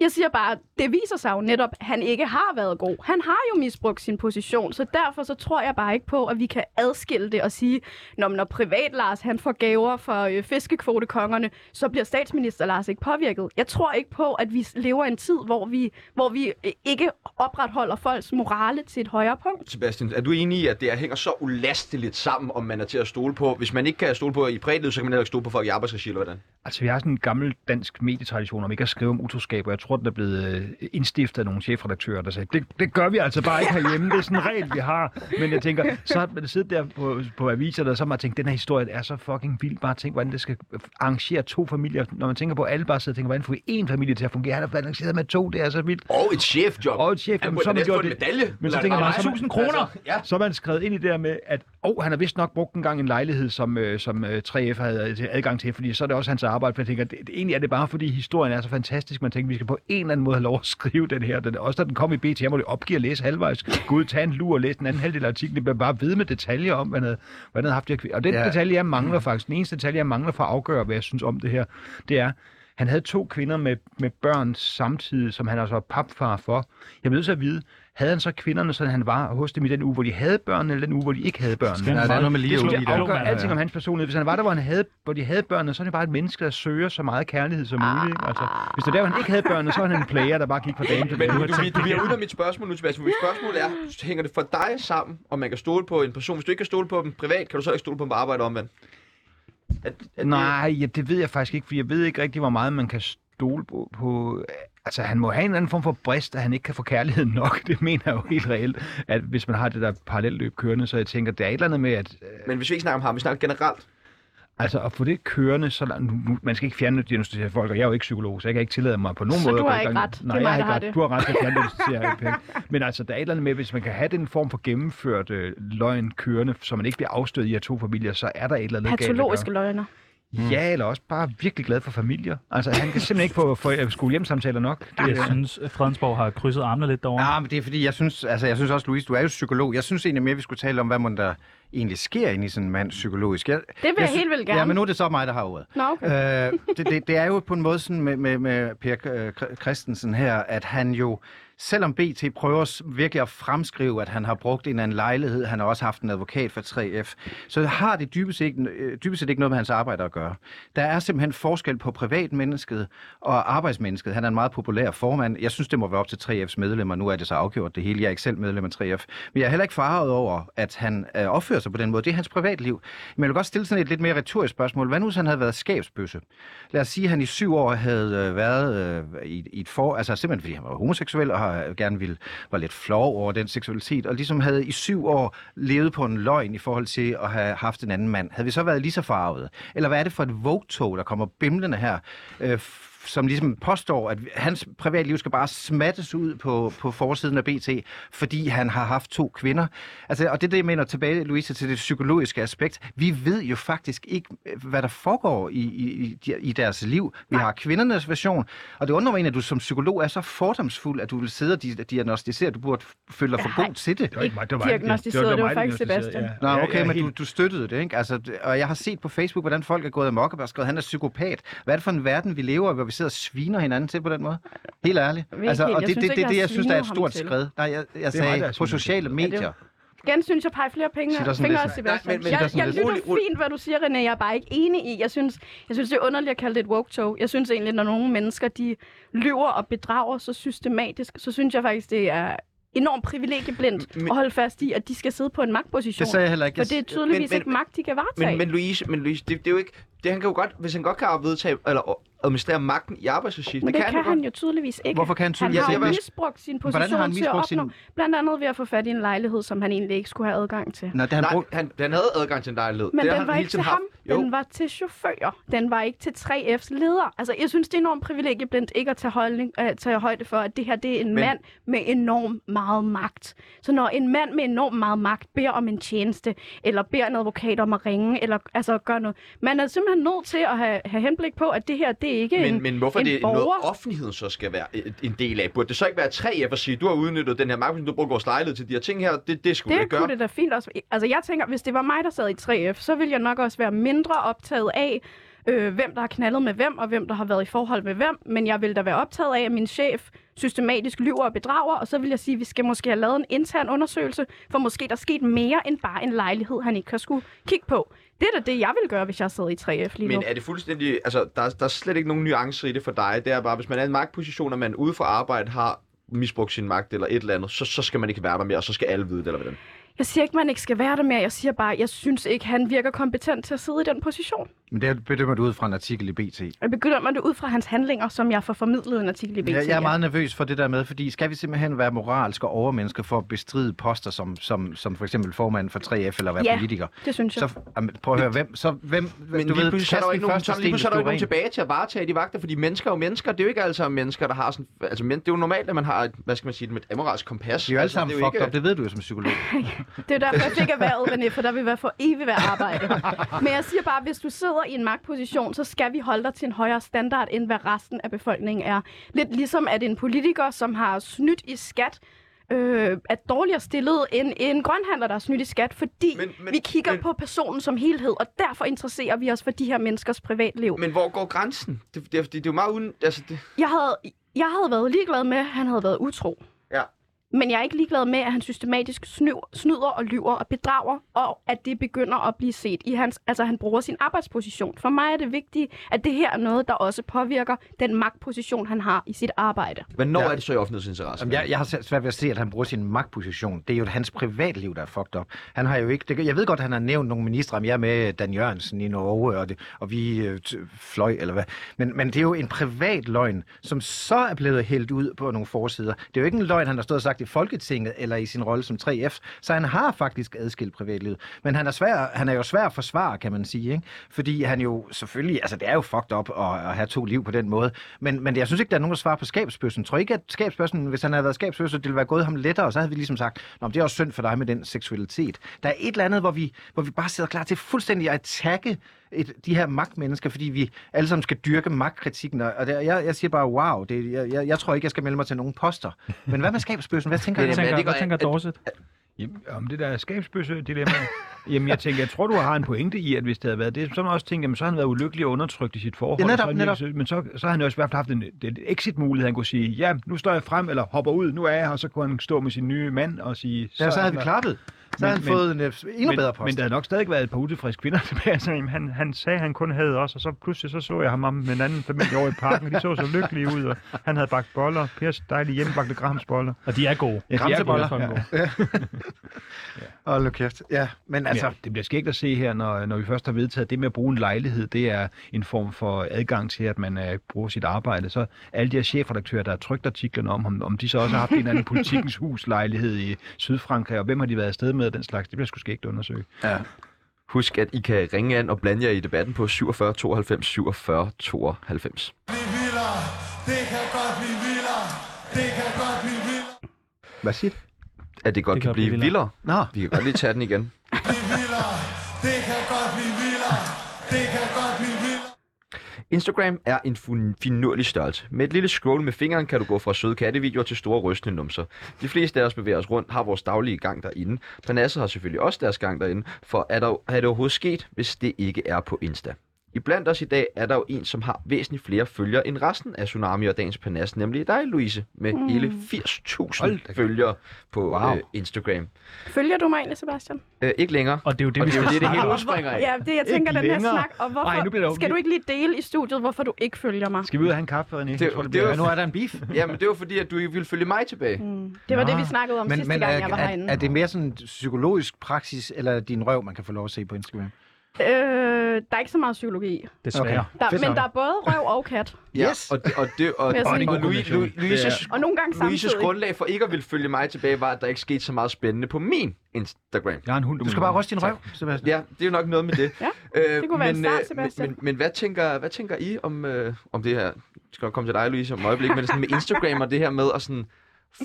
Speaker 2: Jeg siger bare, det viser sig jo netop, at han ikke har været god. Han har jo misbrugt sin position, så derfor så tror jeg bare ikke på, at vi kan adskille det og sige, når, når privat Lars han får gaver fra øh, fiskekvotekongerne, så bliver statsminister Lars ikke påvirket. Jeg tror ikke på, at vi lever i en tid, hvor vi, hvor vi øh, ikke opretholder folks morale til et højere punkt.
Speaker 1: Sebastian, er du enig i, at det her hænger så ulasteligt sammen, om man er til at stole på? Hvis man ikke kan stole på i privatlivet, så kan man heller ikke stole på folk i arbejdsregi, eller hvordan?
Speaker 5: Altså, vi har sådan en gammel dansk medietradition om ikke at skrive om utroskab, og jeg tror, den er blevet øh, indstiftet af nogle chefredaktører, der sagde, det, det gør vi altså bare ikke herhjemme, det er sådan en regel, vi har. Men jeg tænker, så har man siddet der på, på aviserne, og så har man tænkt, den her historie er så fucking vild, bare tænk, hvordan det skal arrangere to familier. Når man tænker på, at alle bare sidder og tænker, hvordan får vi én familie til at fungere? Han er balanceret med to, det er så vildt.
Speaker 1: Og et chefjob.
Speaker 5: Og et chef,
Speaker 1: Han
Speaker 5: jamen,
Speaker 1: burde
Speaker 5: så har man
Speaker 1: næsten få
Speaker 5: gjort
Speaker 1: en
Speaker 5: det.
Speaker 1: medalje.
Speaker 5: Men så
Speaker 1: Eller-
Speaker 5: tænker man,
Speaker 1: Nej,
Speaker 5: så er man-
Speaker 4: 1000 kroner!
Speaker 1: Altså, ja.
Speaker 5: Så er man skrevet ind i det der med, at oh, han har vist nok brugt en gang en lejlighed, som, øh, som øh, 3F havde til- adgang til, fordi så er det også hans arbejde. For jeg tænker, det, det, egentlig er det bare, fordi historien er så fantastisk, man tænker, vi skal på en eller anden måde have lov at skrive den her. Den, også da den kom i BT, jeg måtte opgive at læse halvvejs. Gå ud, tage en lur og læse den anden halvdel af artiklen. Det blev bare ved med detaljer om, hvad han havde, hvad han havde haft. det her kvi- Og den
Speaker 3: Ja.
Speaker 5: ja. detalje, jeg mangler faktisk, den eneste detalje, jeg mangler for at afgøre, hvad jeg synes om det her, det er, han havde to kvinder med, med børn samtidig, som han altså var papfar for. Jeg bliver nødt til at vide, havde han så kvinderne, sådan han var hos dem i den uge, hvor de havde børnene, eller den uge, hvor de ikke havde børnene?
Speaker 3: der er noget med lige
Speaker 4: det
Speaker 3: ude
Speaker 4: slog
Speaker 3: i
Speaker 5: Det
Speaker 3: der.
Speaker 4: jeg
Speaker 5: afgør
Speaker 4: afgør
Speaker 5: alting om hans personlighed. Hvis han var der, hvor, han havde, hvor de havde børnene, så er det bare et menneske, der søger så meget kærlighed som muligt. ikke? Altså, hvis det er der, hvor han ikke havde børnene, så er han en player, der bare gik fra dame til
Speaker 1: Men
Speaker 5: dame.
Speaker 1: du, du, du bliver uden af mit spørgsmål nu, Sebastian. Mit spørgsmål er, hænger det for dig sammen, om man kan stole på en person? Hvis du ikke kan stole på dem privat, kan du så ikke stole på dem på arbejde omvendt? Er, er
Speaker 5: Nej, ja, det ved jeg faktisk ikke, for jeg ved ikke rigtig, hvor meget man kan stole på. på altså, han må have en eller anden form for brist, at han ikke kan få kærligheden nok. Det mener jeg jo helt reelt, at hvis man har det der parallelløb kørende, så jeg tænker, der er et eller andet med, at øh,
Speaker 1: Det, men hvis vi ikke snakker om ham, vi snakker generelt.
Speaker 5: altså, at få det kørende, så langt, nu, nu- man skal ikke fjerndiagnostisere folk, og jeg er jo ikke psykolog, så jeg kan ikke tillade mig på nogen
Speaker 2: Så
Speaker 5: måde.
Speaker 2: du
Speaker 5: at
Speaker 2: har
Speaker 5: gå i
Speaker 2: ikke
Speaker 5: gang-
Speaker 2: ret. Det er
Speaker 5: Nej,
Speaker 2: mig,
Speaker 5: jeg
Speaker 2: der
Speaker 5: har ikke
Speaker 2: har
Speaker 5: ret.
Speaker 2: det.
Speaker 5: Du har ret til at fjerndiagnostisere. ikke? Men altså, der er et eller andet med, hvis man kan have den form for gennemført øh, løgn kørende, så man ikke bliver afstødt i af to familier, så er der et eller andet galt. at gøre.
Speaker 2: Patologiske løgner. Mm.
Speaker 5: Ja, eller også bare virkelig glad for familier. Altså, han kan simpelthen ikke få, få øh, skolehjemsamtaler nok. Det,
Speaker 4: Jeg
Speaker 5: er-
Speaker 4: synes, at Fredensborg har krydset armene lidt derovre.
Speaker 3: Ja, men det er fordi, jeg synes, altså, jeg synes også, Louise, du er jo psykolog. Jeg synes egentlig mere, vi skulle tale om, hvad man der egentlig sker inde i sådan en mand psykologisk. Jeg, det
Speaker 2: vil jeg helt vildt gerne.
Speaker 3: Ja, men nu er det så mig, der har ordet.
Speaker 2: Nå, okay.
Speaker 3: Øh, det, det, det er jo på en måde sådan med, med, med Per øh, Kr- Christensen her, at han jo, selvom BT prøver s- virkelig at fremskrive, at han har brugt en eller anden lejlighed, han har også haft en advokat for 3F, så har det dybest set, ikke- øh, dybest set ikke noget med hans arbejde at gøre. Der er simpelthen forskel på privatmennesket og arbejdsmennesket. Han er en meget populær formand. Jeg synes, det må være op til 3F's medlemmer. Nu er det så afgjort det hele. Jeg er ikke selv medlem af 3F. Men jeg er heller ikke farvet over, at han øh, opfører sig på den måde. Det er hans privatliv. Men jeg vil godt stille sådan et lidt mere retorisk spørgsmål. Hvad nu, hvis han havde været skabsbøsse? Lad os sige, at han i syv år havde øh, været øh, i, i et for... Altså simpelthen, fordi han var homoseksuel og har, gerne ville, var lidt flov over den seksualitet, og ligesom havde i syv år levet på en løgn i forhold til at have haft en anden mand. Havde vi så været lige så farvet? Eller hvad er det for et vogtog, der kommer bimlende her? Øh, f- som ligesom påstår, at hans privatliv skal bare smattes ud på, på forsiden af BT, fordi han har haft to kvinder. Altså, og det er det, jeg mener tilbage, Louise, til det psykologiske aspekt. Vi ved jo faktisk ikke, øh, hvad der foregår i, i, i- i deres liv. Vi har kvindernes version, og det undrer mig egentlig, at du som psykolog er så fordomsfuld, at du vil sidde og di- diagnostisere, du burde føle dig for god til det.
Speaker 5: det var ikke mig, det var
Speaker 2: diagnosticeret, det var faktisk Sebastian.
Speaker 3: Nå,
Speaker 5: Ja,
Speaker 3: okay,
Speaker 5: ja,
Speaker 3: men du,
Speaker 5: helt-
Speaker 3: du støttede det, ikke? Altså, det- og jeg har set på Facebook, hvordan folk er gået amok og bare skrevet, han er psykopat. Hvad er det for en verden, vi lever i, hvor vi sidder og sviner hinanden til på den måde? Helt ærligt.
Speaker 2: ikke
Speaker 3: Altså,
Speaker 2: helt.
Speaker 3: og
Speaker 2: Jeg
Speaker 3: det,
Speaker 2: synes ikke,
Speaker 3: det, det,
Speaker 2: jeg
Speaker 3: det,
Speaker 2: har
Speaker 3: jeg synes, der er et
Speaker 2: svinet ham
Speaker 3: stort
Speaker 2: til.
Speaker 3: skred. Nej, jeg, jeg
Speaker 5: mig, der har
Speaker 3: sagde
Speaker 5: svinet
Speaker 3: på
Speaker 5: ham til.
Speaker 3: sociale
Speaker 2: det er
Speaker 3: medier.
Speaker 2: Gensyn, jeg peger flere penge,
Speaker 3: Sig dig sådan
Speaker 2: fingre
Speaker 3: lidt.
Speaker 2: og
Speaker 1: Nej, men-
Speaker 2: Sebastian.
Speaker 1: men-
Speaker 2: jeg,
Speaker 3: sig dig sådan
Speaker 2: jeg
Speaker 3: lidt.
Speaker 2: lytter
Speaker 1: Rolig, rolig.
Speaker 2: fint, hvad du siger, René. Jeg er bare ikke enig i. Jeg synes, jeg synes det er underligt at kalde det et woke-tog. Jeg synes egentlig, når nogle mennesker de lyver og bedrager så systematisk, så synes jeg faktisk, det er enormt privilegieblindt
Speaker 1: Men-
Speaker 2: at holde fast i, at de skal sidde på en magtposition.
Speaker 3: Det sagde jeg heller ikke.
Speaker 2: for
Speaker 3: Jeg,
Speaker 2: det er tydeligvis
Speaker 1: men-
Speaker 2: ikke magt, de kan varetage.
Speaker 1: Men, men Louise, men Louise det, det, er jo ikke... Det, han kan jo godt, hvis han godt kan vedtage eller administrere magten i arbejdsregi,
Speaker 2: Men det, kan,
Speaker 1: jo
Speaker 2: han
Speaker 1: godt.
Speaker 2: jo tydeligvis ikke.
Speaker 3: Hvorfor kan han
Speaker 2: han
Speaker 3: tydeligvis
Speaker 2: har jo
Speaker 1: ikke det?
Speaker 2: misbrugt sin
Speaker 3: Hvordan har
Speaker 2: position
Speaker 3: han misbrugt
Speaker 2: til at opnå, blandt andet ved at få fat i en lejlighed, som han egentlig ikke skulle have adgang til.
Speaker 3: Nå, det har han
Speaker 1: Nej,
Speaker 3: brugt.
Speaker 1: han, han havde adgang til en lejlighed.
Speaker 2: Men
Speaker 1: Det har
Speaker 2: den var
Speaker 1: han hele
Speaker 2: ikke til
Speaker 1: tiden
Speaker 2: ham,
Speaker 1: haft. Jo,
Speaker 2: den var til chauffører, den var ikke til 3F's leder. Altså, jeg synes, det er enormt privilegieblindt ikke at tage, holdning, øh, tage højde for, at det her det er en Men... mand med enormt meget magt. Så når en mand med enormt meget magt beder om en tjeneste, eller beder en advokat om at ringe, eller altså gøre noget, man er simpelthen nødt til at have, have henblik på, at det her, det er ikke
Speaker 1: men,
Speaker 2: en,
Speaker 1: men hvorfor
Speaker 2: en
Speaker 1: det er
Speaker 2: borger.
Speaker 1: noget, offentligheden så skal være et- en del af? Burde det så ikke være 3F at sige, du har udnyttet den her magtposition, du bruger vores lejlighed til de her ting her, det, det skulle
Speaker 2: Det
Speaker 1: jeg gøre.
Speaker 2: kunne det da fint også. Altså, jeg tænker, hvis det var mig, der sad i 3F, så ville jeg nok også være mindre optaget af, øh, hvem der har knaldet med hvem, og hvem der har været i forhold med hvem. Men jeg ville da være optaget af, at min chef systematisk lyver og bedrager, og så vil jeg sige, at vi skal måske have lavet en intern undersøgelse, for måske der er sket mere end bare en lejlighed, han ikke har skulle kigge på. Det er da det, jeg ville gøre, hvis jeg sad i 3F lige nu.
Speaker 1: Men er det fuldstændig... Altså, der, er- der er slet ikke nogen nuancer i det for dig. Det er bare, hvis man er i en magtposition, og man ude for arbejde har misbrugt sin magt eller et eller andet, så, så skal man ikke være der mere, og så skal alle vide det, eller hvordan.
Speaker 2: Jeg siger ikke, man ikke skal være der mere. Jeg siger bare, at jeg synes ikke, han virker kompetent til at sidde i den position.
Speaker 3: Men det bedømmer du ud fra en artikel i BT.
Speaker 2: Jeg begynder man det ud fra hans handlinger, som jeg får formidlet i en artikel i BT.
Speaker 3: Jeg, jeg er meget nervøs for det der med, fordi skal vi simpelthen være moralske overmennesker for at bestride poster som, som, som for eksempel formand for 3F eller være
Speaker 2: Ja.
Speaker 3: politiker?
Speaker 2: Det synes jeg.
Speaker 3: Så, jamen, prøv at høre, hvem, så, hvem,
Speaker 1: Men
Speaker 3: du
Speaker 1: lige
Speaker 3: ved,
Speaker 1: pludselig så er
Speaker 3: kast
Speaker 1: der jo
Speaker 3: den
Speaker 1: ikke nogen,
Speaker 3: første
Speaker 1: så, lige pludselig
Speaker 3: sten,
Speaker 1: er der jo ikke nogen
Speaker 3: hvis du er ren.
Speaker 1: tilbage til at varetage de vagter, fordi mennesker er jo mennesker. Det er jo ikke alle sammen mennesker, der har sådan... Altså, men, det er jo normalt, at man har, et, hvad skal man sige, et- et amoralsk kompas.
Speaker 3: De er jo alle
Speaker 1: altså,
Speaker 3: sammen
Speaker 1: jo
Speaker 3: fucked up, det ved du jo som psykolog.
Speaker 2: Det er derfor, jeg fik erhvervet, René, for der vil være for evigt være arbejde. Men jeg siger bare, at hvis du sidder i en magtposition, så skal vi holde dig til en højere standard, end hvad resten af befolkningen er. Lidt ligesom, at en politiker, som har snydt i skat, øh, er dårligere stillet end en grønhandler, der har snydt i skat, fordi
Speaker 1: Men-
Speaker 2: men,
Speaker 1: men-
Speaker 2: men, vi kigger
Speaker 1: men-
Speaker 2: men, på personen som helhed, og derfor interesserer vi os for de her menneskers privatliv.
Speaker 1: Men hvor går grænsen? Det, det, det, det er jo meget uden... Altså, det,
Speaker 2: Jeg havde, jeg havde været ligeglad med, at han havde været utro.
Speaker 1: Ja.
Speaker 2: Men jeg er ikke ligeglad med, at han systematisk snyv, snyder og lyver og bedrager, og at det begynder at blive set i hans... Altså, han bruger sin arbejdsposition. For mig er det vigtigt, at det her er noget, der også påvirker den magtposition, han har i sit arbejde.
Speaker 1: hvornår
Speaker 3: Ja.
Speaker 1: ja. er det så i offentlighedens interesse?
Speaker 3: Jamen, jeg, jeg har selv svært ved at se, at han bruger sin magtposition. Det er jo hans privatliv, der er fucked up. Han har jo ikke, det, jeg ved godt, at han har nævnt nogle ministre, om jeg er med Dan Jørgensen i Norge, og, det, og vi øh, t- fløj, eller hvad. Men, men det er jo en privat løgn, som så er blevet hældt ud på nogle forsider. Det er jo ikke en løgn, han har stået og sagt i Folketinget, eller i sin rolle som 3F. Så han har faktisk adskilt privatlivet. Men han er, svær, han er jo svær at forsvare, kan man sige. Ikke? Fordi han jo selvfølgelig, altså det er jo fucked up at, at have to liv på den måde. Men, men jeg synes ikke, der er nogen, der svarer på skabsbøssen. Tror I ikke, at skabsbøssen, hvis han havde været skabsbøsse, det ville være gået ham lettere, og så havde vi ligesom sagt, Nå, men det er også synd for dig med den seksualitet. Der er et eller andet, hvor vi, hvor vi bare sidder klar til fuldstændig at attacke et, de her magtmennesker, fordi vi alle sammen skal dyrke magtkritikken. Og og det, jeg, jeg siger bare, wow, det, jeg, jeg, jeg, tror ikke, jeg skal melde mig til nogen poster. Men hvad med skabsbøssen? Hvad tænker I?
Speaker 4: Hvad
Speaker 3: om-
Speaker 4: tænker,
Speaker 1: det gør-
Speaker 4: hvad tænker
Speaker 1: at-
Speaker 4: Dorset?
Speaker 5: Jamen, om det der skabsbøsse-dilemma. jamen, jeg tænker, jeg tror, du har en pointe i, at hvis det havde været det, så har man også tænkt, jamen, så har han været ulykkelig og undertrykt i sit forhold.
Speaker 3: Ja, netop,
Speaker 5: og så har han
Speaker 3: netop.
Speaker 5: virkelig- men så, så har han jo også i hvert fald haft en, en exit-mulighed, han kunne sige, ja, nu står jeg frem, eller hopper ud, nu er jeg her, og så kunne han stå med sin nye mand og sige...
Speaker 3: Ja, så
Speaker 5: er
Speaker 3: havde vi
Speaker 5: der-
Speaker 3: klappet. Så
Speaker 5: Men-
Speaker 3: havde han
Speaker 5: men-
Speaker 3: fået en øh, endnu
Speaker 5: men,
Speaker 3: bedre post.
Speaker 5: Men der havde nok stadig været et par utilfredse kvinder tilbage, så jamen, han, han sagde, at han kun havde os, og så pludselig så, så jeg ham om med en anden familie over i parken, og de så så lykkelige ud, og han havde bagt boller, Pers dejlige hjemmebagte gramsboller.
Speaker 4: Og de er gode.
Speaker 5: Ja, de er
Speaker 3: Gramseboller.
Speaker 5: gode. Ja.
Speaker 3: Hold nu kæft. Ja, men altså...
Speaker 5: Altså, ja, det bliver skægt at se her, når, når vi først har vedtaget det med at bruge en lejlighed, det er en form for adgang til, at man øh, bruger sit arbejde. Så alle de her chefredaktører, der har trykt artiklerne om ham, om de så også har haft en eller anden politikens hus-lejlighed i Sydfrankrig, og hvem har de været afsted med og den slags, det bliver sgu skægt at undersøge.
Speaker 1: Husk, at I kan ringe an og blande jer i debatten på 47 92 47 92.
Speaker 3: Hvad siger du?
Speaker 1: At det godt det kan, blive vildere.
Speaker 3: Nå,
Speaker 1: Vi kan godt lige tage den igen. Instagram er en fun- finurlig størrelse. Med et lille scroll med fingeren kan du gå fra søde kattevideoer til store rystende numser. De fleste af os bevæger os rundt, har vores daglige gang derinde. Parnasset har selvfølgelig også deres gang derinde, for er, der, er det overhovedet sket, hvis det ikke er på Insta? Iblandt os i dag er der jo en, som har væsentligt flere følgere end resten af Tsunami og Dagens Panas, nemlig dig, Louise, med mm. hele 80.000 følgere på wow. øh, Instagram.
Speaker 2: Følger du mig egentlig, Sebastian?
Speaker 1: Øh, ikke længere.
Speaker 4: Og det er jo det,
Speaker 1: Og
Speaker 4: vi
Speaker 1: det er
Speaker 4: skal
Speaker 1: jo det, det
Speaker 4: snakke
Speaker 1: hele
Speaker 4: om.
Speaker 1: udspringer af.
Speaker 2: Ja, det jeg tænker, den her
Speaker 5: længere.
Speaker 2: snak. Og hvorfor,
Speaker 5: Ej, nu bliver der
Speaker 2: skal du ikke lige dele i studiet, hvorfor du ikke følger mig?
Speaker 5: Skal vi ud og have en kaffe, René? Det,
Speaker 1: Det-
Speaker 5: jeg tror, det
Speaker 1: det er
Speaker 5: bliver...
Speaker 1: jo-
Speaker 3: Ja, nu er der en beef.
Speaker 1: Jamen, det var fordi, at du ville følge mig tilbage.
Speaker 2: Mm. Det var
Speaker 3: Nå.
Speaker 2: det, vi snakkede om men, sidste
Speaker 3: men
Speaker 2: gang, jeg var
Speaker 3: er,
Speaker 2: herinde.
Speaker 3: er, er det mere sådan psykologisk praksis, eller er det din røv, man kan få lov at se på Instagram?
Speaker 2: Øh, der er ikke så meget psykologi. i.
Speaker 4: Desværre.
Speaker 2: Der,
Speaker 3: Fedt
Speaker 2: men
Speaker 3: nok.
Speaker 2: der er både røv og kat.
Speaker 1: Ja,
Speaker 3: Yes.
Speaker 1: og, det, og, det, og, og,
Speaker 2: Vil jeg
Speaker 1: og,
Speaker 2: sige.
Speaker 1: og Louis, Louis, Louises,
Speaker 2: Og nogle gange
Speaker 1: Louises
Speaker 2: samtidig.
Speaker 1: grundlag for ikke at ville følge mig tilbage var, at der ikke skete så meget spændende på min Instagram.
Speaker 5: Jeg har en hund,
Speaker 3: Du skal bare ryste din røv, Sebastian.
Speaker 1: Ja, det er jo nok noget med det.
Speaker 2: Ja,
Speaker 1: øh,
Speaker 2: det kunne være en
Speaker 1: men,
Speaker 2: start,
Speaker 1: øh, men,
Speaker 2: Sebastian.
Speaker 1: men, men hvad, tænker, hvad tænker I om, øh, om det her? Jeg skal nok komme til dig, Louise, om et øjeblik, men sådan med Instagram og det her med at sådan,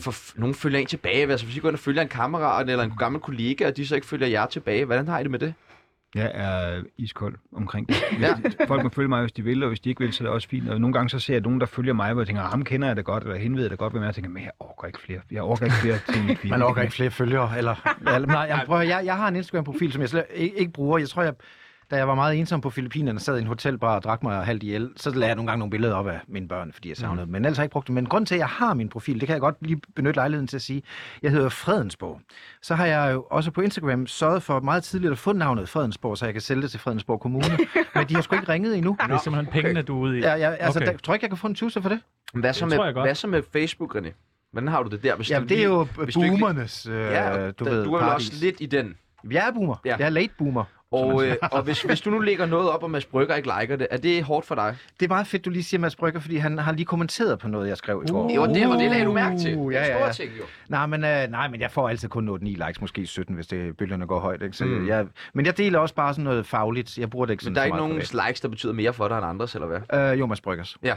Speaker 1: for nogen følger en tilbage. Altså, hvis I går ind og følger en kammerat eller en gammel kollega, og de så ikke følger jer tilbage, hvordan har I det med det?
Speaker 5: Jeg er iskold omkring det.
Speaker 1: Ja.
Speaker 5: Hvis- Folk må følge mig, hvis de vil, og hvis de ikke vil, så er det også fint. Og nogle gange så ser jeg nogen, der følger mig, hvor jeg tænker, "Ah, ham kender jeg da godt, eller hende ved jeg da godt, hvem jeg er. Og tænker, men jeg orker ikke flere. Jeg orker ikke flere til mit feed.
Speaker 3: Man orker ikke flere følgere, eller... eller nej, jeg, prøver, jeg, jeg har en Instagram-profil, som jeg slet ikke, ikke bruger. Jeg tror, jeg, da jeg var meget ensom på Filippinerne, sad i en hotelbar og drak mig halvt ihjel, så lagde jeg nogle gange nogle billeder op af mine børn, fordi jeg savnede dem. Men ellers har jeg ikke brugt dem. Men grund til, at jeg har min profil, det kan jeg godt lige benytte lejligheden til at sige, jeg hedder Fredensborg. Så har jeg jo også på Instagram sørget for meget tidligt at få navnet Fredensborg, så jeg kan sælge det til Fredensborg Kommune. Men de har sgu ikke ringet endnu.
Speaker 4: Det er simpelthen pengene, du er ude i.
Speaker 3: Ja, jeg, altså,
Speaker 4: Okay.
Speaker 3: okay. der, tror ikke, jeg kan få en tusse for det?
Speaker 1: Hvad så,
Speaker 4: Det tror
Speaker 1: med,
Speaker 4: jeg godt.
Speaker 1: hvad så med Facebook, René? Hvordan har du det der? Hvis
Speaker 3: Jamen,
Speaker 1: du
Speaker 3: det er jo
Speaker 1: hvis du ikke-
Speaker 3: boomernes, øh,
Speaker 1: Ja,
Speaker 3: ja,
Speaker 1: og
Speaker 3: du
Speaker 1: da-
Speaker 3: ved,
Speaker 1: du er vel også
Speaker 3: paradis.
Speaker 1: lidt i den.
Speaker 3: Jeg er boomer.
Speaker 1: Ja.
Speaker 3: Ja. Jeg er late boomer.
Speaker 1: Og, øh, og hvis, hvis du nu lægger noget op, og Mads Brygger ikke liker det, er det hårdt for dig?
Speaker 3: Det er meget fedt, du lige siger Mads Brygger, fordi han har lige kommenteret på noget, jeg skrev i går.
Speaker 1: Jo, det, og det lagde du mærke til.
Speaker 3: Uh,
Speaker 1: Det er
Speaker 3: ja,
Speaker 1: en
Speaker 3: ja,
Speaker 1: stor
Speaker 3: ja.
Speaker 1: ting, jo.
Speaker 3: Nej, men, øh, nej, men jeg får altid kun 8-9 likes, måske 17, hvis det, bølgerne går højt. Ikke? Så mm. jeg, men jeg deler også bare sådan noget fagligt. Jeg bruger det ikke
Speaker 1: Men
Speaker 3: sådan
Speaker 1: der er
Speaker 3: så
Speaker 1: ikke nogen
Speaker 3: meget
Speaker 1: likes, der betyder mere for dig end andres, eller hvad?
Speaker 3: privat. Øh, jo, Mads Bryggers.
Speaker 1: Ja.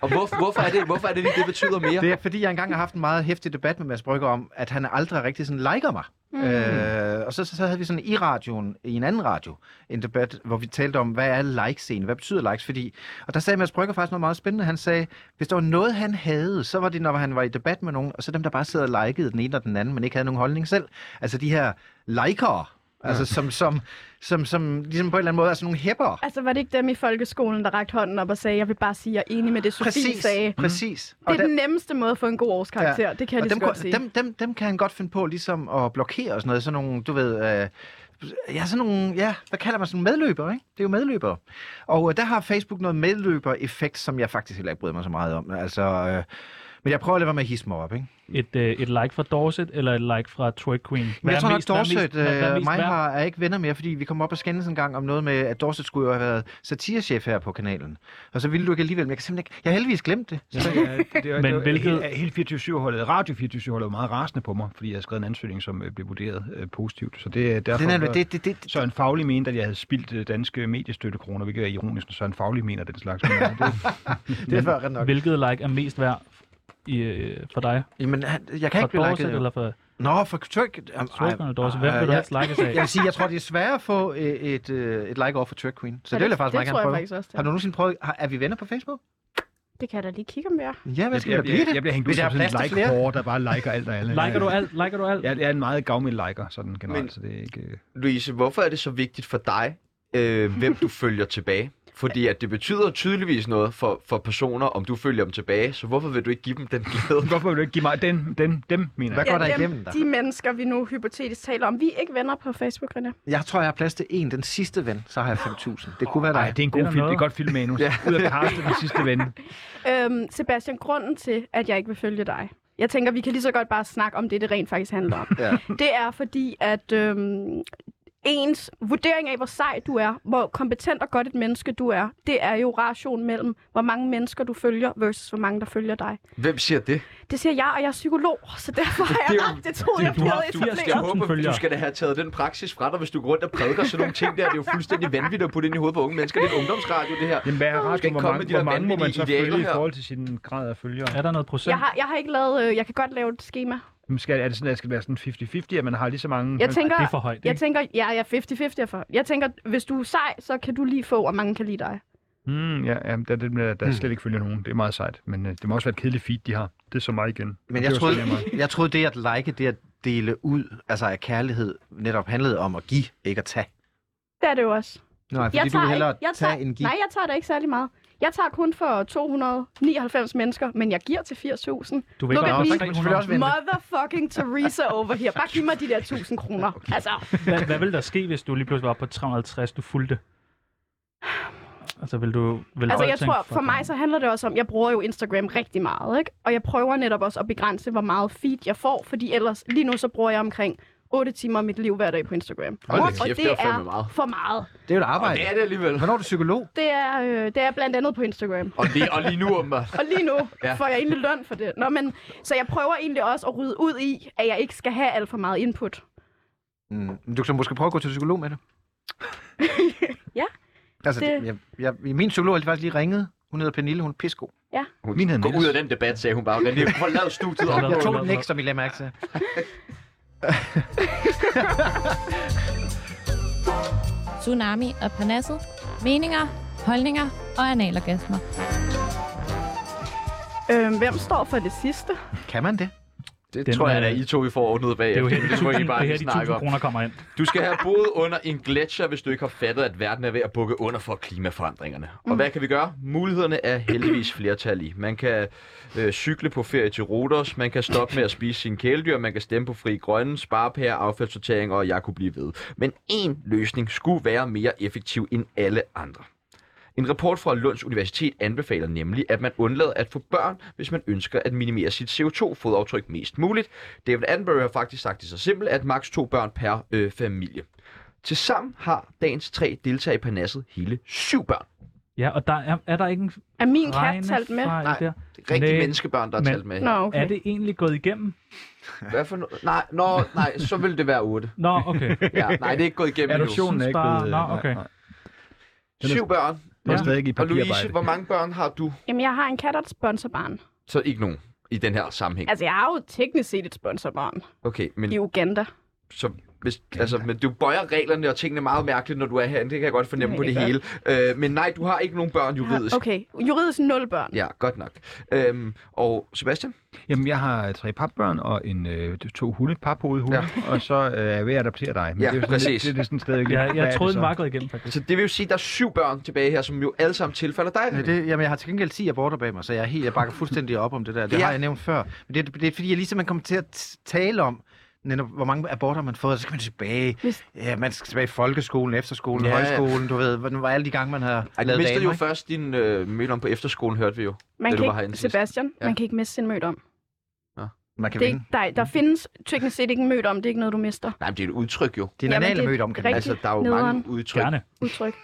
Speaker 1: Og hvor, hvorfor, er det, hvorfor er det lige, det betyder mere?
Speaker 3: Det er, fordi jeg engang har haft en meget hæftig debat med Mads Brygger om, at han aldrig rigtig sådan liker mig. Mm. Øh, og så, så, så havde vi sådan i radioen, i en anden radio, en debat, hvor vi talte om, hvad er likes egentlig? Hvad betyder likes? Fordi, og der sagde Mads Brygger faktisk noget meget spændende. Han sagde, hvis der var noget, han havde, så var det, når han var i debat med nogen, og så dem, der bare sidder og likede den ene og den anden, men ikke havde nogen holdning selv. Altså de her likere, altså som, som, som, som ligesom på en eller anden måde er sådan nogle hæppere.
Speaker 2: Altså, var det ikke dem i folkeskolen, der rakte hånden op og sagde, jeg vil bare sige, jeg er enig med det, Sofie sagde? Mm.
Speaker 3: præcis.
Speaker 2: Det er den nemmeste måde at få en god årskarakter. Ja. Det kan jeg
Speaker 3: og
Speaker 2: lige så
Speaker 3: dem,
Speaker 2: godt
Speaker 3: kunne-
Speaker 2: sige.
Speaker 3: dem, dem, dem kan han godt finde på ligesom at blokere og sådan noget. Sådan nogle, du ved... Øh, ja, sådan nogle... Ja, hvad kalder man sådan nogle medløbere, ikke? Det er jo medløbere. Og øh, der har Facebook noget medløber-effekt, som jeg faktisk heller ikke bryder mig så meget om. Altså... Øh, men jeg prøver at lade være med at hisse mig op, ikke?
Speaker 4: Et, øh, et like fra Dorset, eller et like fra Twerk Queen?
Speaker 3: Men
Speaker 4: Hvad
Speaker 3: jeg
Speaker 4: er
Speaker 3: tror nok,
Speaker 4: mest-
Speaker 3: Dorset
Speaker 4: hvad er mest- hvad- hvad er
Speaker 3: øh,
Speaker 4: mest
Speaker 3: mig
Speaker 4: værd?
Speaker 3: har, er ikke venner mere, fordi vi kom op og skændes en gang om noget med, at Dorset skulle jo have været satirechef her på kanalen. Og så ville du ikke alligevel, men jeg kan simpelthen ikke... Jeg har heldigvis glemt det.
Speaker 5: Ja, ja, det, det, det,
Speaker 4: Men
Speaker 5: Men
Speaker 4: hvilket-
Speaker 5: hvilket... Hele 24-7-holdet, Radio 24-7-holdet var meget rasende på mig, fordi jeg havde skrevet en ansøgning, som øh, blev vurderet øh, positivt. Så det er derfor...
Speaker 3: Den er,
Speaker 5: så-
Speaker 3: det, det, det, det,
Speaker 5: Søren Faglig mente, at jeg havde spildt øh, danske mediestøttekroner, hvilket er ironisk, når Søren Faglig mener den slags. Men, øh, det,
Speaker 3: det er før ret nok.
Speaker 4: Hvilket like er mest værd i, øh, for dig?
Speaker 3: Jamen, han- jeg kan
Speaker 4: Fra
Speaker 3: ikke blive
Speaker 4: Dorset,
Speaker 3: liket, jo.
Speaker 4: eller fra
Speaker 3: Nå, for twerk...
Speaker 4: Twerk Queen eller Dorset? Hvem
Speaker 3: ej,
Speaker 4: vil du
Speaker 3: jeg-
Speaker 4: helst likes af?
Speaker 3: Jeg vil sige, jeg tror, det er sværere at få øh, et, øh, et like over for Twerk Queen. Så
Speaker 2: Ja,
Speaker 3: det, vil jeg faktisk
Speaker 2: det
Speaker 3: meget
Speaker 2: tror
Speaker 3: gerne
Speaker 2: jeg
Speaker 3: prøve.
Speaker 2: faktisk også, det er.
Speaker 3: har du nogensinde prøvet... Har, er vi venner på Facebook?
Speaker 2: Det kan jeg da lige kigge om jer.
Speaker 3: Ja, hvad skal
Speaker 5: jeg,
Speaker 3: der blive
Speaker 5: bliver,
Speaker 3: det?
Speaker 5: jeg bliver hængt ud
Speaker 3: Hvis der
Speaker 5: som
Speaker 3: er
Speaker 5: sådan
Speaker 3: plads
Speaker 5: en
Speaker 3: til
Speaker 5: like
Speaker 3: flere.
Speaker 5: hård, der bare liker alt og alle.
Speaker 4: Liker du alt? Liker du alt?
Speaker 5: Jeg, jeg er en meget gavmild liker, sådan generelt,
Speaker 1: Men-
Speaker 5: men, så det er ikke... øh,
Speaker 1: Louise, hvorfor er det så vigtigt for dig, øh, hvem du følger tilbage? Fordi at det betyder tydeligvis noget for, for personer, om du følger dem tilbage, så hvorfor vil du ikke give dem den glæde?
Speaker 5: Hvorfor vil du ikke give mig den, den, dem, mener
Speaker 3: Hvad
Speaker 5: jeg?
Speaker 3: går der
Speaker 2: dem,
Speaker 3: igennem dig?
Speaker 2: De mennesker, vi nu hypotetisk taler om, vi er ikke venner på Facebook, René.
Speaker 3: Jeg tror, jeg har plads til en, den sidste ven, så har jeg 5.000. Det kunne være
Speaker 5: Nej,
Speaker 3: dig.
Speaker 5: det er en
Speaker 4: Det
Speaker 5: god
Speaker 4: er der
Speaker 5: film. Det er
Speaker 4: noget.
Speaker 5: et godt filmmanus. ja. Ud af kaste den sidste ven.
Speaker 2: Øhm, Sebastian, grunden til, at jeg ikke vil følge dig, jeg tænker, vi kan lige så godt bare snakke om det, det rent faktisk handler om.
Speaker 3: Ja.
Speaker 2: Det er fordi, at øhm, ens vurdering af, hvor sej du er, hvor kompetent og godt et menneske du er, det er jo rationen mellem, hvor mange mennesker du følger, versus hvor mange, der følger dig.
Speaker 1: Hvem siger det?
Speaker 2: Det siger jeg, og jeg er psykolog, så derfor har jeg ramt det to, jeg
Speaker 4: du har-
Speaker 2: blevet
Speaker 4: du har-
Speaker 1: Jeg
Speaker 2: etableret.
Speaker 4: Tusind
Speaker 1: håber,
Speaker 4: følgere.
Speaker 1: du skal da have taget den praksis fra dig, hvis du går rundt og prædiker sådan nogle ting der. Det er jo fuldstændig vanvittigt at putte ind i hovedet på unge mennesker. Det er en ungdomsradio, det her.
Speaker 5: Jamen, hvad er
Speaker 1: Skal
Speaker 5: ret?
Speaker 1: ikke
Speaker 5: Hvor
Speaker 1: komme med
Speaker 5: mange,
Speaker 1: de
Speaker 5: hvor
Speaker 1: der
Speaker 5: mange må man
Speaker 1: vanvittige
Speaker 5: så
Speaker 1: idealer
Speaker 5: følge i
Speaker 1: her.
Speaker 5: forhold til sin grad af følgere?
Speaker 4: Er der noget procent?
Speaker 2: Jeg har, jeg har ikke lavet, øh, jeg kan godt lave et schema.
Speaker 5: Jamen, Skal, er det sådan, at det skal være sådan 50-50, at man har lige så mange...
Speaker 2: Jeg tænker,
Speaker 4: det er for højt,
Speaker 2: jeg
Speaker 4: ikke?
Speaker 2: tænker, ja, jeg er 50-50 er for. Jeg tænker, hvis du er sej, så kan du lige få, og mange kan lide dig.
Speaker 5: Mm, ja, ja, der, der, der, der er slet ikke følger nogen. Det er meget sejt. Men øh, det må også være et kedeligt feed, de har. Det er så mig igen.
Speaker 3: Men
Speaker 5: Det
Speaker 3: jeg
Speaker 5: var
Speaker 3: troede,
Speaker 5: så lige meget.
Speaker 3: jeg troede, det at like, det at dele ud, altså af kærlighed, netop handlede om at give, ikke at tage.
Speaker 2: Det er det jo også.
Speaker 3: Nej, fordi du vil hellere
Speaker 2: jeg tager,
Speaker 3: tage en gig.
Speaker 2: Nej, jeg tager da ikke særlig meget. Jeg tager kun for 299 mennesker, men jeg giver til 80.000.
Speaker 4: Du vil
Speaker 2: Look
Speaker 4: ikke
Speaker 2: at
Speaker 4: også
Speaker 2: me.
Speaker 3: Så kan du selvfølgelig også vente.
Speaker 2: Motherfucking Teresa over her. Bare giv mig de der 1.000 kroner. Altså,
Speaker 4: Hvad, hvad ville der ske, hvis du lige pludselig var på 350, du fulgte? Altså, vil du... Vil
Speaker 2: altså
Speaker 4: folk
Speaker 2: jeg
Speaker 4: tænke,
Speaker 2: tror, for
Speaker 4: fuck,
Speaker 2: mig så handler det også om, jeg bruger jo Instagram rigtig meget, ikke? Og jeg prøver netop også at begrænse, hvor meget feed jeg får, fordi ellers, lige nu så bruger jeg omkring 8 timer af mit liv hver dag på Instagram.
Speaker 1: Hold da
Speaker 2: og
Speaker 1: kæft,
Speaker 2: det,
Speaker 1: det var
Speaker 2: er
Speaker 1: fandme meget.
Speaker 2: for meget.
Speaker 3: Det er jo et
Speaker 1: Og
Speaker 3: arbejde.
Speaker 1: det er det alligevel.
Speaker 3: Hvornår er du psykolog?
Speaker 2: Det er, øh, det er blandt andet på Instagram.
Speaker 1: Og lige, og lige nu, åbenbart.
Speaker 2: Og lige nu
Speaker 1: Ja.
Speaker 2: ja. får jeg egentlig løn for det. Nå, men, så jeg prøver egentlig også at rydde ud i, at jeg ikke skal have alt for meget input.
Speaker 3: Mm. Du kan så måske prøve at gå til psykolog med det.
Speaker 2: Ja,
Speaker 3: Altså, det...
Speaker 2: det-
Speaker 3: Jeg, jeg, min psykolog har faktisk lige ringet. Hun hedder Pernille, hun er pisko.
Speaker 5: Min hedder
Speaker 1: Gå ud
Speaker 5: Niels.
Speaker 1: af den debat, sagde hun bare. Den er forladt studiet op.
Speaker 4: Jeg
Speaker 3: Jeg
Speaker 4: Nå,
Speaker 3: tog
Speaker 4: nå,
Speaker 3: den
Speaker 4: nå.
Speaker 3: ikke, som I lagde mærke til.
Speaker 7: Tsunami og Parnasset. Meninger, holdninger og analorgasmer.
Speaker 2: Øhm, hvem står for det sidste?
Speaker 3: Kan man det?
Speaker 1: Det
Speaker 4: Den
Speaker 1: tror jeg
Speaker 4: er-
Speaker 1: da, I to vi får ordnet bag.
Speaker 4: Det er jo her, de
Speaker 1: tror jeg, I
Speaker 4: 1000,
Speaker 1: bare
Speaker 4: det er her,
Speaker 1: lige
Speaker 4: de
Speaker 1: snakker
Speaker 4: 1000
Speaker 1: om.
Speaker 4: kroner kommer ind.
Speaker 1: Du skal have boet under en gletscher, hvis du ikke har fattet, at verden er ved at bukke under for klimaforandringerne.
Speaker 4: Mm.
Speaker 1: Og hvad kan vi gøre? Mulighederne er heldigvis flertallige. Man kan øh, cykle på ferie til Rodos, man kan stoppe med at spise sine kæledyr, man kan stemme på fri grønne, sparepære, affaldssortering, og jeg kunne blive ved. Men én løsning skulle være mere effektiv end alle andre. En rapport fra Lunds Universitet anbefaler nemlig, at man undlader at få børn, hvis man ønsker at minimere sit CO2-fodaftryk mest muligt. David Attenborough har faktisk sagt det så simpelt, at maks to børn per øh, familie. Tilsammen har dagens tre deltagere i Parnasset hele syv børn.
Speaker 4: Ja, og der er, er der ikke en
Speaker 2: Er min kat talt med?
Speaker 4: regnefejl
Speaker 1: Nej.
Speaker 4: der?
Speaker 1: Rigtige
Speaker 4: Næ.
Speaker 1: menneskebørn, der er
Speaker 4: Men-
Speaker 1: talt med.
Speaker 2: Nå,
Speaker 1: her.
Speaker 4: Er
Speaker 2: okay.
Speaker 4: det egentlig gået igennem?
Speaker 1: Hvad for no- nej, nå, nej, så vil det være otte.
Speaker 4: Nå, okay.
Speaker 1: Ja, nej, det er ikke gået igennem endnu.
Speaker 5: Adoptionen er ikke
Speaker 4: Bare-
Speaker 5: blevet...
Speaker 4: Nå, okay.
Speaker 5: Den er-
Speaker 1: Syv børn.
Speaker 5: Den er
Speaker 4: Ja.
Speaker 5: stadig ikke i
Speaker 1: Og Louise,
Speaker 5: papirarbejde.
Speaker 1: hvor mange børn har du?
Speaker 2: Jamen, jeg har en kat og et sponsorbarn.
Speaker 1: Så ikke nogen i den her sammenhæng.
Speaker 2: Altså, jeg har jo teknisk set et sponsorbarn
Speaker 1: Okay, men
Speaker 2: i Uganda.
Speaker 1: Så hvis, altså, men du bøjer reglerne og tingene meget mærkeligt, når du er herinde. Det kan jeg godt fornemme på
Speaker 2: Det
Speaker 1: det
Speaker 2: kan
Speaker 1: hele. Øh, men nej, du har ikke nogen børn
Speaker 2: Jeg har-
Speaker 1: juridisk.
Speaker 2: Okay, juridisk nul børn.
Speaker 1: Ja, godt nok. Øhm, og Sebastian?
Speaker 5: Jamen, jeg har tre papbørn og en, øh, to hunde, paphovede hunde, ja. og så øh, er jeg ved at adoptere dig. Men
Speaker 1: Ja,
Speaker 5: det er jo sådan,
Speaker 1: præcis.
Speaker 5: Det, det er sådan stadig
Speaker 4: Jeg, jeg troede, den var gået igennem, faktisk.
Speaker 1: Så det vil jo sige, at der er syv børn tilbage her, som jo alle sammen tilfalder dig.
Speaker 3: Ja,
Speaker 1: René.
Speaker 3: det jamen, jeg har til gengæld 10 aborter bag mig, så jeg, er helt, jeg bakker fuldstændig op om det der. Det
Speaker 1: Ja.
Speaker 3: ja. har jeg nævnt før. Men det, det er fordi, jeg lige simpelthen kommer til at t- tale om, netop, hvor mange aborter man har fået, og så skal man tilbage.
Speaker 2: Hvis-
Speaker 3: Ja, man skal tilbage i folkeskolen, efterskolen,
Speaker 1: Ja.
Speaker 3: ja. højskolen, du ved, hvor- nu var alle de gange, man har
Speaker 1: Ej, du
Speaker 3: lavet
Speaker 1: mistede jo
Speaker 3: damer. ikke?
Speaker 1: først din øh, møde om på efterskolen, hørte vi jo.
Speaker 2: Man
Speaker 1: da du
Speaker 2: kan
Speaker 1: var herinde
Speaker 2: ikke,
Speaker 1: sidst.
Speaker 2: Sebastian,
Speaker 1: Ja.
Speaker 2: man kan ikke miste sin mødt om.
Speaker 3: Man kan
Speaker 2: Det er
Speaker 3: vinde.
Speaker 2: ikke, der, der findes teknisk set ikke en mødt om, det er ikke noget, du mister.
Speaker 1: Nej, men det er et udtryk jo.
Speaker 3: Det er en
Speaker 2: Jamen,
Speaker 3: anal
Speaker 2: det er
Speaker 3: mødt om, kan man
Speaker 2: rigtigt.
Speaker 1: Altså, der er jo
Speaker 2: Nederen.
Speaker 1: mange udtryk.
Speaker 4: Gerne.
Speaker 2: Udtryk.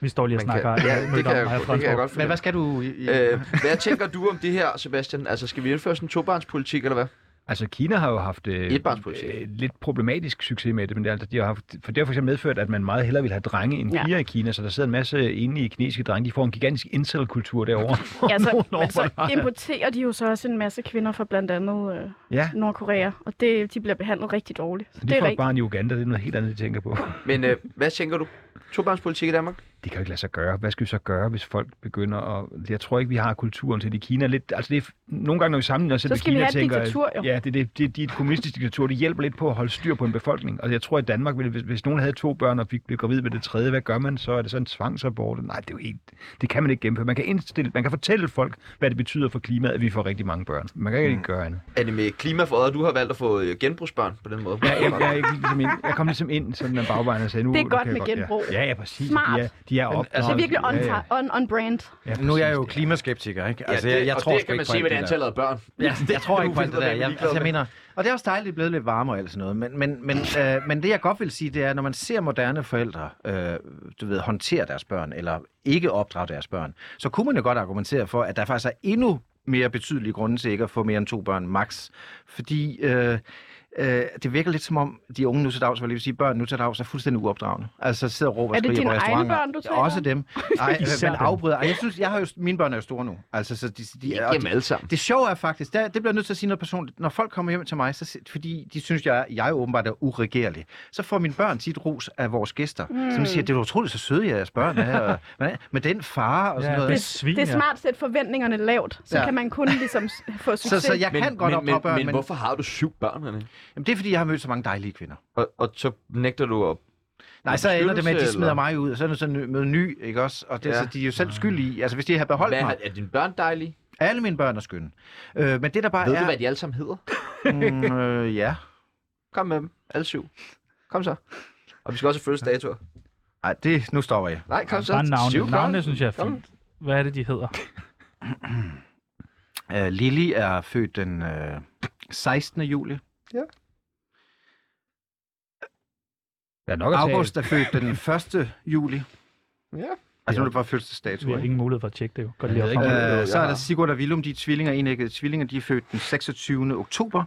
Speaker 4: Vi står lige og
Speaker 1: Man kan,
Speaker 4: snakker.
Speaker 1: ja,
Speaker 4: mødte
Speaker 1: det kan,
Speaker 4: om
Speaker 1: jeg,
Speaker 4: mig og
Speaker 1: det kan jeg
Speaker 4: Fransborg.
Speaker 1: godt
Speaker 3: Men hvad
Speaker 1: finde.
Speaker 3: skal du... I, i,
Speaker 1: Øh, hvad tænker du om det her, Sebastian? Altså, skal vi indføre sådan en tobarnspolitik, eller hvad?
Speaker 5: Altså, Kina har jo haft øh,
Speaker 1: Etbarnspolitik.
Speaker 5: øh, lidt problematisk succes med det, men det er, altså, de har haft, for det har for eksempel medført, at man meget hellere vil have drenge end
Speaker 2: Ja.
Speaker 5: piger i Kina, så der sidder en masse enlige kinesiske drenge, de får en gigantisk incel-kultur derovre.
Speaker 2: Ja, så,
Speaker 5: Nogle år
Speaker 2: men så
Speaker 5: bare.
Speaker 2: importerer de jo så også en masse kvinder fra blandt andet øh,
Speaker 5: Ja,
Speaker 2: Nordkorea, og det, de bliver behandlet rigtig dårligt. Så
Speaker 5: så de
Speaker 2: det er
Speaker 5: får et
Speaker 2: rigtigt.
Speaker 5: barn i Uganda, det er noget helt andet, de tænker på.
Speaker 1: Men øh, hvad tænker du? Tobarnspolitik i Danmark?
Speaker 5: det kan jo ikke lade sig gøre. Hvad skal vi så gøre, hvis folk begynder at... Jeg tror ikke, vi har kulturen til det i Kina. Lidt, altså det er, nogle gange, når vi sammenligner os selv
Speaker 2: Så
Speaker 5: med
Speaker 2: skal vi
Speaker 5: Kina,
Speaker 2: have et
Speaker 5: tænker,
Speaker 2: diktatur, jo.
Speaker 5: Ja, det, det, det, de er et kommunistisk diktatur. Det hjælper lidt på at holde styr på en befolkning. Og jeg tror, at Danmark, ville, hvis, hvis nogen havde to børn og fik blev gravid med det tredje, hvad gør man så? Er det så en tvangsabort? Nej, det er jo helt... Det kan man ikke gennemføre. Man kan, indstille, man kan fortælle folk, hvad det betyder for klimaet, at vi får rigtig mange børn. Man kan ikke mm. gøre andet.
Speaker 1: Er det med klimaforøret, du har valgt at få øh, genbrugsbørn på den måde?
Speaker 5: Jeg, jeg, jeg, er ikke ligesom ind, jeg kom ligesom ind sådan en bagvejen og sagde, nu
Speaker 2: Det er
Speaker 5: nu
Speaker 2: godt
Speaker 5: kan jeg
Speaker 2: med genbrug.
Speaker 5: Ja, ja, ja præcis.
Speaker 2: Smart. altså,
Speaker 5: De er, de er op.
Speaker 2: Det er virkelig on, on, on brand.
Speaker 5: ja,
Speaker 3: nu er jeg jo
Speaker 5: præcis.
Speaker 3: klimaskeptiker, ikke? Altså,
Speaker 1: det,
Speaker 3: jeg, jeg
Speaker 1: og
Speaker 3: tror
Speaker 1: det
Speaker 3: sgu
Speaker 1: kan
Speaker 3: ikke
Speaker 1: man
Speaker 3: på
Speaker 1: se
Speaker 3: alt
Speaker 1: med det
Speaker 3: der.
Speaker 1: antal af børn.
Speaker 3: Ja, jeg tror ikke på alt det der. Jeg, altså,
Speaker 1: mener...
Speaker 3: jeg mener, og det er også dejligt, det er blevet lidt varmere eller sådan noget. Men, men, men, øh, men det, jeg godt vil sige, det er, når man ser moderne forældre, øh, du ved, håndtere deres børn, eller ikke opdrage deres børn, så kunne man jo godt argumentere for, at der faktisk er endnu mere betydelige grunde til ikke at få mere end to børn max. Fordi øh, øh, det virker lidt som om, de unge nu til dags, vil jeg lige vil sige, børn nu til dags er fuldstændig uopdragende. Altså sidder og råber
Speaker 2: Er det
Speaker 3: og skriger
Speaker 2: dine egne
Speaker 3: på restauranter.
Speaker 2: børn, du taler
Speaker 3: Også
Speaker 2: om?
Speaker 3: dem. Ej,
Speaker 4: Især
Speaker 3: men
Speaker 4: dem.
Speaker 3: afbryder. Ej, jeg synes, jeg har jo, mine børn er jo store nu. Altså, så de, de, de,
Speaker 1: Ikke
Speaker 3: og
Speaker 1: dem alle sammen.
Speaker 3: det sjove er faktisk, der, det bliver jeg nødt til at sige noget personligt. Når folk kommer hjem til mig, så, si- fordi de synes, jeg, jeg er åbenbart er uregerlig, så får mine børn tit ros af vores gæster, mm. som siger, det er utroligt så søde, jeres børn er, og, hvordan- med den far og sådan
Speaker 4: Ja,
Speaker 3: ja,
Speaker 4: det
Speaker 3: noget.
Speaker 4: svin,
Speaker 2: Det er smart at sætte forventningerne lavt, så
Speaker 3: Ja.
Speaker 2: kan man kun ligesom s- få
Speaker 3: Så,
Speaker 2: succes.
Speaker 3: så jeg kan godt
Speaker 1: men,
Speaker 3: opdrage børn, men,
Speaker 1: men, hvorfor har du syv børn, René?
Speaker 3: Jamen, det er, fordi jeg har mødt så mange dejlige kvinder.
Speaker 1: Og, og så nægter du at
Speaker 3: Nej, så ender det med, at de
Speaker 1: beskyttelse,
Speaker 3: smider
Speaker 1: eller?
Speaker 3: mig ud, og så er det sådan noget med ny, ikke også? Og det, ja.
Speaker 1: Ja.
Speaker 3: så de er jo selv skyldige i. Altså, hvis de havde beholdt
Speaker 1: Hvad,
Speaker 3: mig.
Speaker 1: er dine børn dejlige?
Speaker 3: Alle mine børn er skønne. Øh, men det, der bare
Speaker 1: Ved
Speaker 3: er...
Speaker 1: du, hvad de alle sammen hedder?
Speaker 3: Mm, øh, ja.
Speaker 1: Kom med dem. Alle syv. Kom så. Og vi skal også følge statuer.
Speaker 3: Ej, det, nu stopper jeg.
Speaker 1: Nej, kom så.
Speaker 4: Bare navne.
Speaker 1: Syv
Speaker 4: Navne,
Speaker 1: børn.
Speaker 4: synes jeg er
Speaker 1: Kom.
Speaker 4: fint. Hvad er det, de hedder?
Speaker 3: Øh, Lili er født den øh, 16. juli.
Speaker 5: Der er nok at tage.
Speaker 3: August er født den 1. juli.
Speaker 1: Ja.
Speaker 3: Altså, nu er det bare
Speaker 4: Vi har
Speaker 3: fødselsdato, ikke?
Speaker 4: ingen mulighed for at tjekke det jo. Godt lige
Speaker 5: Jeg ved
Speaker 4: op
Speaker 5: ikke,
Speaker 4: frem.
Speaker 5: hvad-
Speaker 3: Øh, så er
Speaker 1: jeg
Speaker 3: der
Speaker 1: har.
Speaker 3: Sigurd og Willum, de er tvillinger, enæggede tvillinger, de er født den 26. oktober.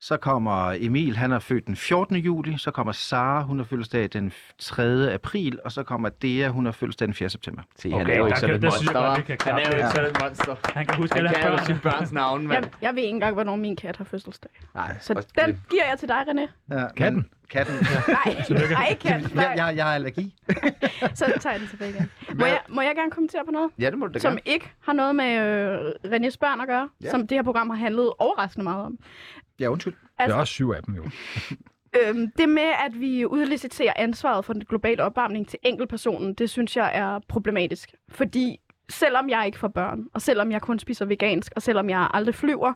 Speaker 3: Så kommer Emil, han er født den 14. juli. Så kommer Sara, hun har fødselsdag den 3. april. Og så kommer Dea, hun har fødselsdag den 4. september.
Speaker 1: Se,
Speaker 4: Okay, der kan- der synes jeg godt, vi
Speaker 1: Han
Speaker 4: kan
Speaker 1: er jo
Speaker 4: klappe.
Speaker 1: ikke sådan et monster.
Speaker 4: Han kan huske
Speaker 1: Han
Speaker 4: alle
Speaker 1: kan jo
Speaker 4: hans
Speaker 1: sine
Speaker 4: børn.
Speaker 1: børns navne, mand.
Speaker 2: Jeg, jeg ved ikke engang, hvornår min kat har fødselsdag.
Speaker 1: Nej,
Speaker 2: Så
Speaker 1: og
Speaker 2: den giver jeg til dig, René.
Speaker 3: Ja,
Speaker 5: Katten?
Speaker 3: men- Katten, ja.
Speaker 2: Nej, nej ikke kat.
Speaker 3: jeg,
Speaker 2: Nej.
Speaker 3: jeg, jeg har allergi.
Speaker 2: Så tager jeg den tilbage igen. Må jeg, må jeg gerne kommentere på noget?
Speaker 1: Ja, det må du da
Speaker 2: som
Speaker 1: gerne.
Speaker 2: ikke har noget med øh, Renés børn at gøre,
Speaker 1: Ja.
Speaker 2: ja. som det her program har handlet overraskende meget om.
Speaker 3: Ja, undskyld.
Speaker 5: Der
Speaker 2: altså-
Speaker 5: er også syv af dem jo.
Speaker 2: Øhm, det med, at vi udliciterer ansvaret for den globale opvarmning til enkeltpersonen, det synes jeg er problematisk. Fordi selvom jeg ikke får børn, og selvom jeg kun spiser vegansk, og selvom jeg aldrig flyver,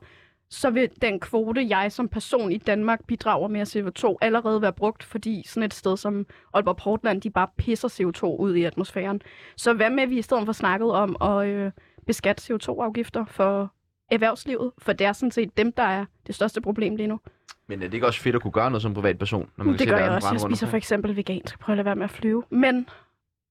Speaker 2: så vil den kvote, jeg som person i Danmark bidrager med af CO2, allerede være brugt, fordi sådan et sted som Aalborg Portland, de bare pisser CO2 ud i atmosfæren. Så hvad med, at vi i stedet for snakkede om at øh, beskatte CO2-afgifter for erhvervslivet, for det er sådan set dem, der er det største problem lige nu.
Speaker 1: Men er det ikke også fedt at kunne gøre noget som privatperson, når man kan
Speaker 2: Det
Speaker 1: se
Speaker 2: gør
Speaker 1: verden
Speaker 2: jeg også.
Speaker 1: brænde
Speaker 2: Jeg
Speaker 1: rundt
Speaker 2: spiser for
Speaker 1: omkring?
Speaker 2: eksempel vegansk. Prøv at lade være med at flyve. Men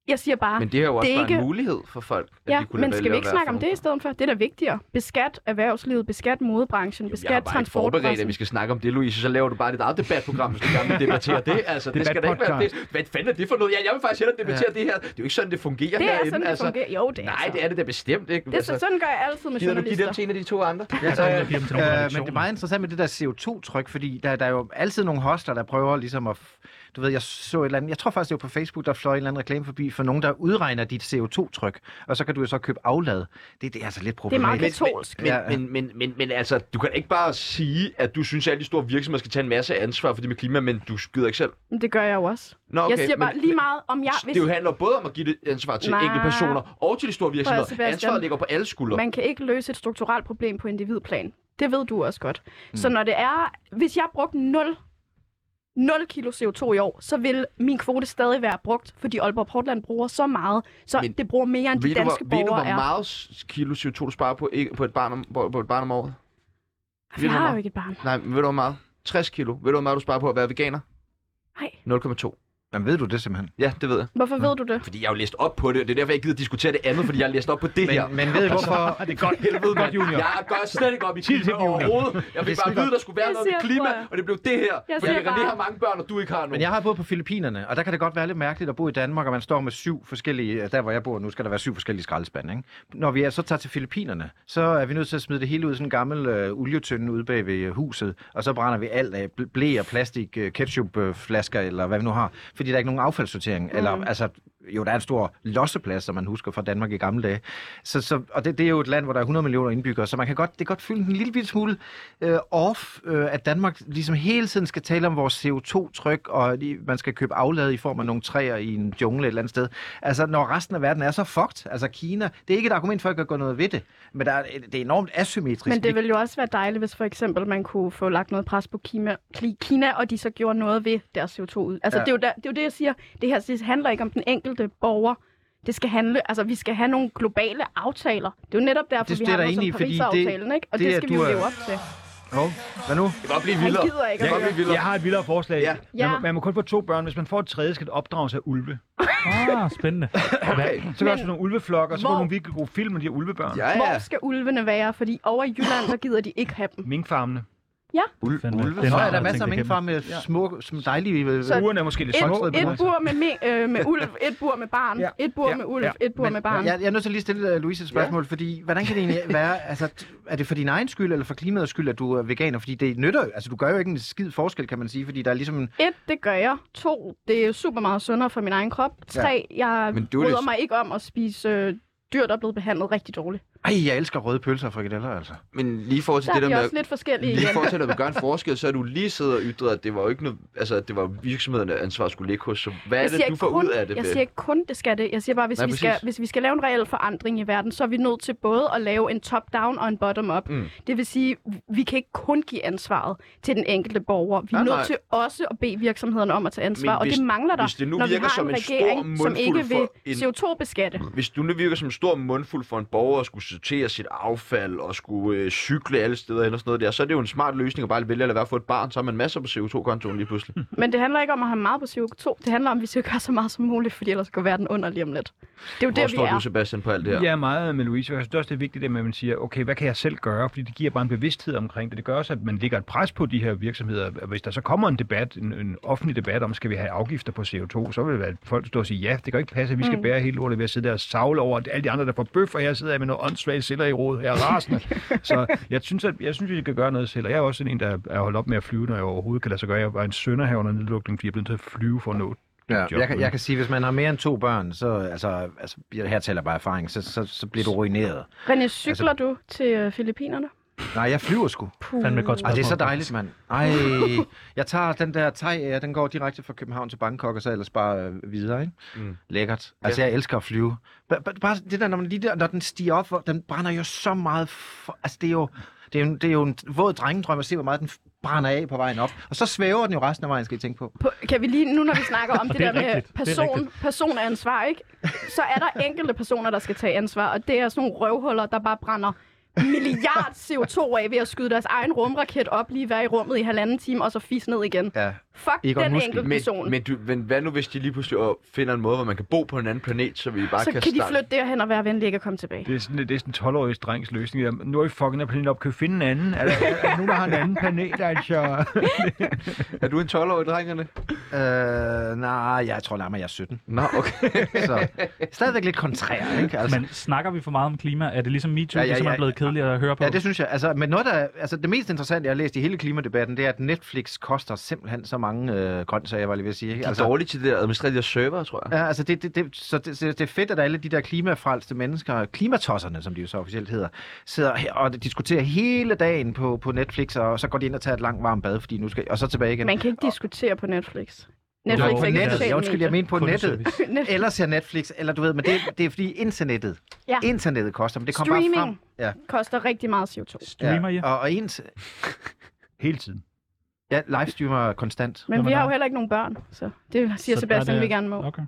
Speaker 2: jeg siger bare,
Speaker 1: Men det er jo også
Speaker 2: Det er
Speaker 1: bare en
Speaker 2: ikke-
Speaker 1: mulighed for folk, at
Speaker 2: ja,
Speaker 1: de kunne
Speaker 2: men skal
Speaker 1: vælge
Speaker 2: vi
Speaker 1: at
Speaker 2: ikke
Speaker 1: være
Speaker 2: snakke om
Speaker 1: form-
Speaker 2: det i stedet for? Det er da vigtigere. Beskat erhvervslivet, beskat modebranchen,
Speaker 1: Jeg har
Speaker 2: beskat
Speaker 1: bare ikke forberedt, at
Speaker 2: transportbranchen.
Speaker 1: vi skal snakke om det, Louise. Så laver du bare dit eget debatprogram, hvis du gerne vil debattere det. Altså, det, skal da ikke være det. Hvad fanden er det for noget? Jeg, jeg vil faktisk hellere debattere det her. Det er jo ikke sådan, det fungerer
Speaker 2: Det er
Speaker 1: herinde.
Speaker 2: sådan, det
Speaker 1: altså.
Speaker 2: fungerer. Jo, det er
Speaker 1: Nej,
Speaker 2: så.
Speaker 1: det er det da bestemt ikke. Altså,
Speaker 2: Det er, sådan gør jeg altid med
Speaker 1: gider du give
Speaker 2: journalister.
Speaker 1: dem til en af de to andre? Altså,
Speaker 4: Ja, så Altså, jeg giver dem til nogle
Speaker 3: Øh, men det er
Speaker 4: redaktioner.
Speaker 3: meget interessant med det der CO2-tryk, fordi der, der er jo altid nogle hoster, der prøver ligesom at... f- Du ved, jeg så et eller andet... Jeg tror faktisk, det var på Facebook, der fløj en eller anden reklame forbi for nogen, der udregner dit CO2-tryk, og så kan du jo så købe aflad. Det, det er altså lidt
Speaker 2: Det er meget
Speaker 3: problematisk.
Speaker 2: katolsk.
Speaker 1: Men,
Speaker 3: Ja.
Speaker 1: ja. men, men, men, men altså, du kan da ikke bare sige, at du synes, at alle de store virksomheder skal tage en masse ansvar for det med klima, men du gider ikke selv.
Speaker 2: Men Det gør jeg jo også.
Speaker 1: Nå,
Speaker 2: Jeg siger bare
Speaker 1: men-
Speaker 2: lige meget om jeg...
Speaker 1: Det jo handler både om at give det ansvar til
Speaker 2: Nej.
Speaker 1: enkelte personer og til de store
Speaker 2: Prøv at
Speaker 1: virksomheder.
Speaker 2: se,
Speaker 1: Ansvaret
Speaker 2: Sebastian.
Speaker 1: ligger på alle skuldre.
Speaker 2: Man kan ikke løse et strukturelt problem på individplan. Det ved du også godt. Mm. Så når det er, hvis jeg brugte 0, 0 kilo CO2 i år, så vil min kvote stadig være brugt, fordi Aalborg Portland bruger så meget, så
Speaker 1: Men
Speaker 2: Men, det bruger mere end de
Speaker 1: Ved du,
Speaker 2: danske
Speaker 1: hvor, ved du,
Speaker 2: borgere
Speaker 1: hvor
Speaker 2: er.
Speaker 1: meget s- kilo CO2 du sparer på, ikke, på, et barn om, på, på et barn om året?
Speaker 2: For
Speaker 1: ved
Speaker 2: Jeg
Speaker 1: du, hvor
Speaker 2: har jo
Speaker 1: meget?
Speaker 2: ikke et barn.
Speaker 1: Nej, men ved du, hvor meget? 60 kilo. Ved du, hvor meget du sparer på at være veganer?
Speaker 2: Nej.
Speaker 1: 0,2.
Speaker 3: Jamen, ved du det simpelthen?
Speaker 1: Ja, det ved jeg.
Speaker 2: Hvorfor ved du det?
Speaker 1: Fordi jeg har jo læst op på det, og det er derfor, jeg gider diskutere det andet, fordi jeg har læst op på det her.
Speaker 3: Men, men
Speaker 4: Altså,
Speaker 3: ved I
Speaker 2: Altså,
Speaker 3: hvorfor...
Speaker 5: Det er godt,
Speaker 1: Helvede,
Speaker 5: godt, Junior.
Speaker 1: Jeg gør slet ikke op i klima overhovedet. Jeg fik
Speaker 3: Det er
Speaker 1: bare at vide, der skulle være
Speaker 2: Jeg
Speaker 1: noget med
Speaker 2: siger,
Speaker 1: klima,
Speaker 2: tror jeg.
Speaker 1: og det blev det her.
Speaker 2: Jeg
Speaker 1: fordi
Speaker 2: siger
Speaker 1: René
Speaker 2: bare-
Speaker 1: har mange børn, og du ikke har nogen.
Speaker 3: Men jeg har boet på Filippinerne, og der kan det godt være lidt mærkeligt at bo i Danmark, og man står med syv forskellige, der hvor jeg bor nu, skal der være syv forskellige skraldespande. Ikke? Når vi er, så tager til Filippinerne, så er vi nødt til at smide det hele ud i sådan en gammel øh, olietønde ude bag ved øh, huset, og så brænder vi alt af bl- blæ og plastik, øh, ketchupflasker øh, eller hvad vi nu har, fordi der er ikke nogen affaldssortering. Mm. Eller, altså, jo, der er en stor losseplads, som man husker fra Danmark i gamle dage. Så, så, og det, det, er jo et land, hvor der er 100 millioner indbyggere, så man kan godt, det kan godt fylde en lille bitte smule øh, off, øh, at Danmark ligesom hele tiden skal tale om vores CO2-tryk, og at i- man skal købe aflad i form af nogle træer i en jungle et eller andet sted. Altså, når resten af verden er så fucked, altså Kina, det er ikke et argument for, at jeg kan gå noget ved det, men der er, det er enormt asymmetrisk.
Speaker 2: Men det ville jo også være dejligt, hvis for eksempel man kunne få lagt noget pres på Kina, Kli- Kina og de så gjorde noget ved deres CO2 ud. Altså,
Speaker 3: Ja.
Speaker 2: ja. det, er jo der, det er jo det, jeg siger. Det her det handler ikke om den enkelte borger. Det skal handle, altså vi skal have nogle globale aftaler. Det er jo netop derfor,
Speaker 3: Det
Speaker 2: vi
Speaker 3: støtter
Speaker 2: har noget
Speaker 3: jeg
Speaker 2: som
Speaker 3: egentlig i, fordi det-
Speaker 2: Paris-aftalen, ikke? Og det,
Speaker 3: det
Speaker 2: det
Speaker 3: er,
Speaker 2: skal vi
Speaker 3: du
Speaker 2: jo
Speaker 3: er-
Speaker 2: leve op til.
Speaker 3: Hov, hvad nu?
Speaker 1: Det kan godt blive
Speaker 2: Han
Speaker 1: vildere.
Speaker 2: gider ikke
Speaker 1: Det
Speaker 2: at
Speaker 1: kan godt
Speaker 2: høre.
Speaker 1: blive vildere.
Speaker 5: Jeg har et vildere forslag.
Speaker 1: Ja.
Speaker 5: Man, må,
Speaker 2: Ja.
Speaker 5: man må kun få to børn. Hvis man får et tredje, skal det opdrages af ulve.
Speaker 4: Ah, spændende. Hvad?
Speaker 1: Okay.
Speaker 5: Så kan også nogle ulveflokker, så får
Speaker 2: Hvor-
Speaker 5: nogle virkelig gode film med de her ulvebørn.
Speaker 1: Ja,
Speaker 2: Hvor
Speaker 1: ja.
Speaker 2: skal ulvene være? Fordi over i Jylland, der gider de ikke have dem.
Speaker 5: Minkfarmene.
Speaker 4: Fandme.
Speaker 1: ulve.
Speaker 4: Den
Speaker 3: Så
Speaker 4: har
Speaker 3: er
Speaker 4: jeg
Speaker 3: der
Speaker 4: aldrig
Speaker 3: masser af
Speaker 4: tænkt
Speaker 3: minkfarme med små, som dejlige... øh,
Speaker 2: Så-
Speaker 5: Ugerne er måske lidt
Speaker 2: Et,
Speaker 5: små.
Speaker 2: et bur med, me, øh, med ulv, et bur med barn,
Speaker 5: Ja.
Speaker 2: et bur
Speaker 5: Ja.
Speaker 2: med ulv,
Speaker 5: Ja.
Speaker 2: et bur med barn.
Speaker 3: Jeg, jeg er nødt til lige at stille uh, Louise et spørgsmål, ja. fordi hvordan kan det egentlig være, altså, t- er det for din egen skyld eller for klimaets skyld, at du er veganer? Fordi det nytter jo, altså du gør jo ikke en skid forskel, kan man sige, fordi der er ligesom en...
Speaker 2: Et, det gør jeg. To, det er super meget sundere for min egen krop. Tre, jeg
Speaker 1: Men du er
Speaker 2: bryder
Speaker 1: lidt-
Speaker 2: mig ikke om at spise øh, dyr, der er blevet behandlet rigtig dårligt.
Speaker 3: Ej, jeg elsker røde pølser og frikadeller, altså.
Speaker 1: Men lige i forhold til
Speaker 2: Der
Speaker 1: det
Speaker 2: er
Speaker 1: der
Speaker 2: vi
Speaker 1: med,
Speaker 2: også lidt forskellige
Speaker 1: lige i
Speaker 2: igen.
Speaker 1: forhold til, at vi gør en forskel, så er du lige siddet og ytret, at det var jo ikke noget, altså, at det var virksomhederne ansvar skulle ligge hos. Så hvad er
Speaker 2: Jeg
Speaker 1: det,
Speaker 2: siger,
Speaker 1: du
Speaker 2: ikke
Speaker 1: får
Speaker 2: kun,
Speaker 1: ud af det?
Speaker 2: jeg
Speaker 1: ved-
Speaker 2: siger ikke kun, det skal det. Jeg siger bare, hvis,
Speaker 1: Nej,
Speaker 2: vi skal,
Speaker 1: præcis.
Speaker 2: hvis vi skal lave en reel forandring i verden, så er vi nødt til både at lave en top-down og en bottom-up.
Speaker 1: Mm.
Speaker 2: Mm. Det vil sige, vi kan ikke kun give ansvaret til den enkelte borger. Vi er
Speaker 1: Nej,
Speaker 2: nødt
Speaker 1: nej.
Speaker 2: til også at bede virksomhederne om at tage ansvar,
Speaker 1: Men
Speaker 2: og
Speaker 1: hvis-
Speaker 2: det mangler der,
Speaker 1: hvis det nu
Speaker 2: når vi
Speaker 1: virker
Speaker 2: har
Speaker 1: som
Speaker 2: en
Speaker 1: en stor
Speaker 2: regering, som
Speaker 1: mundfuld
Speaker 2: ikke
Speaker 1: for
Speaker 2: vil
Speaker 1: en-
Speaker 2: CO2-beskatte.
Speaker 1: Hvis du nu virker som en stor mundfuld for en borger at skulle sortere sit affald og skulle øh, cykle alle steder hen og sådan noget der, så er det jo en smart løsning at bare vælge at lade være at få et barn, så har man masser på CO2-kontoen lige pludselig.
Speaker 2: Men det handler ikke om at have meget på CO2. Det handler om, at vi skal gøre så meget som muligt, fordi ellers går verden under lige om lidt. Det er jo
Speaker 1: Hvor
Speaker 2: der, vi
Speaker 1: står
Speaker 2: er.
Speaker 1: du, Sebastian, på alt det her?
Speaker 5: Ja. Jeg er meget med Louise, og jeg synes også, det er vigtigt, at man siger, okay, hvad kan jeg selv gøre? Fordi det giver bare en bevidsthed omkring det. Det gør også, at man lægger et pres på de her virksomheder. Og Hvis der så kommer en debat, en, en offentlig debat om, skal vi have afgifter på CO2, så vil det være, at folk står og siger, ja, det kan jo ikke passe, at vi skal bære hele lortet ved at sidde der og savle over at alle de andre, der får bøf, og her sidder jeg med noget åndssvagt celler i rodet. Jeg er rasende. så jeg synes, at, jeg synes, at vi skal gøre noget selv. Og jeg er også sådan en, der er holdt op med at flyve, når jeg overhovedet kan lade sig gøre. Jeg var en sønder her under nedlukningen, fordi jeg blev nødt til at flyve for at nå
Speaker 3: Ja,
Speaker 5: job,
Speaker 3: jeg, kan,
Speaker 5: ikke?
Speaker 3: jeg kan sige, hvis man har mere end to børn, så, altså, altså jeg- her taler jeg bare erfaring, så, så, så bliver du ruineret.
Speaker 2: René, cykler altså... du til øh, Filippinerne?
Speaker 3: Nej, jeg flyver sgu.
Speaker 2: Puh.
Speaker 4: Fandme et godt
Speaker 3: Ej,
Speaker 1: Ah,
Speaker 4: spørgsmål.
Speaker 3: det er så dejligt, mand. Ej, jeg tager den der thai Air, den går direkte fra København til Bangkok, og så ellers bare øh, videre, ikke?
Speaker 1: Mm.
Speaker 3: Mm. Lækkert. Altså, jeg elsker at flyve. Ba- ba- Bare det der, når, man lige der, når den stiger op, hvor- den brænder jo så meget... For, altså, det er jo... Det er, jo, det er jo en våd drengedrøm at se, hvor meget den brænder af på vejen op. Og så svæver den jo resten af vejen, skal I tænke på.
Speaker 2: På, kan vi lige, nu når vi snakker om det,
Speaker 4: Det er
Speaker 2: der med
Speaker 4: rigtigt. Det er
Speaker 2: person,
Speaker 4: rigtigt.
Speaker 2: personansvar, ikke? så er der enkelte personer, der skal tage ansvar, og det er sådan nogle røvhuller, der bare brænder milliard CO2 af ved at skyde deres egen rumraket op, lige være i rummet i halvanden time, og så fisse ned igen.
Speaker 3: Ja.
Speaker 2: Fuck
Speaker 3: Egon
Speaker 2: den
Speaker 3: Muskel.
Speaker 2: enkelte person.
Speaker 1: Men, men, du, men hvad nu, hvis de lige pludselig øh, finder en måde, hvor man kan bo på en anden planet, så vi bare
Speaker 2: så
Speaker 1: kan,
Speaker 2: kan de
Speaker 1: starte-
Speaker 2: flytte derhen og være venlige ikke at komme tilbage.
Speaker 5: Det er sådan, det er sådan en 12-årig drengs løsning. Jamen, Nu er vi fucking af planeten op. Kan vi finde en anden? Er der, er, er der nogen, der har en anden planet? Altså?
Speaker 1: Er du en 12-årig, drengerne?
Speaker 3: Øh, nej, jeg tror nærmere, jeg er 17.
Speaker 1: Nå, okay.
Speaker 3: Så stadigvæk lidt kontrær, ikke? Altså,
Speaker 4: Men snakker vi for meget om klima? Er det ligesom MeToo,
Speaker 3: Ja,
Speaker 4: ja,
Speaker 3: ja,
Speaker 4: ja, det som
Speaker 3: ja.
Speaker 4: er blevet kedeligt at høre på?
Speaker 3: Ja, det synes jeg. Altså, men noget, der, altså, det mest interessante, jeg har læst i hele klimadebatten, det er, at Netflix koster simpelthen så mange øh, grøntsager, var jeg lige ved at sige. Ikke?
Speaker 1: Altså,
Speaker 3: Altså,
Speaker 1: dårligt til det der administrative server, tror jeg.
Speaker 3: ja, altså det, det, det, så det, så det er fedt, at alle de der klimafrelste mennesker, klimatosserne, som de jo så officielt hedder, sidder her og diskuterer hele dagen på, på Netflix, og så går de ind og tager et langt varmt bad, fordi nu skal, og så tilbage igen.
Speaker 2: Man kan ikke diskutere på Netflix.
Speaker 4: Jo,
Speaker 2: Netflix
Speaker 3: Nå,
Speaker 2: er
Speaker 3: på
Speaker 2: ikke et
Speaker 3: nettet.
Speaker 2: socialt
Speaker 3: Jeg undskyld, jeg
Speaker 2: medie.
Speaker 3: mener på nettet.
Speaker 4: Kundeservice.
Speaker 2: Net-
Speaker 3: Eller ser Netflix, eller du ved, men det, det er fordi internettet.
Speaker 2: Ja.
Speaker 3: Internettet koster, men det kommer bare frem.
Speaker 2: Streaming
Speaker 3: Ja.
Speaker 2: koster rigtig meget CO2.
Speaker 4: Streamer I?
Speaker 3: ja. Og, og ens,
Speaker 5: Hele tiden.
Speaker 3: ja, livestreamer konstant.
Speaker 2: Men
Speaker 4: Nå,
Speaker 2: vi
Speaker 4: men
Speaker 2: har
Speaker 4: der-
Speaker 2: jo heller ikke nogen børn, så det siger
Speaker 4: Så
Speaker 2: Sebastian,
Speaker 4: der er
Speaker 2: vi
Speaker 4: det-
Speaker 2: gerne må.
Speaker 4: Okay.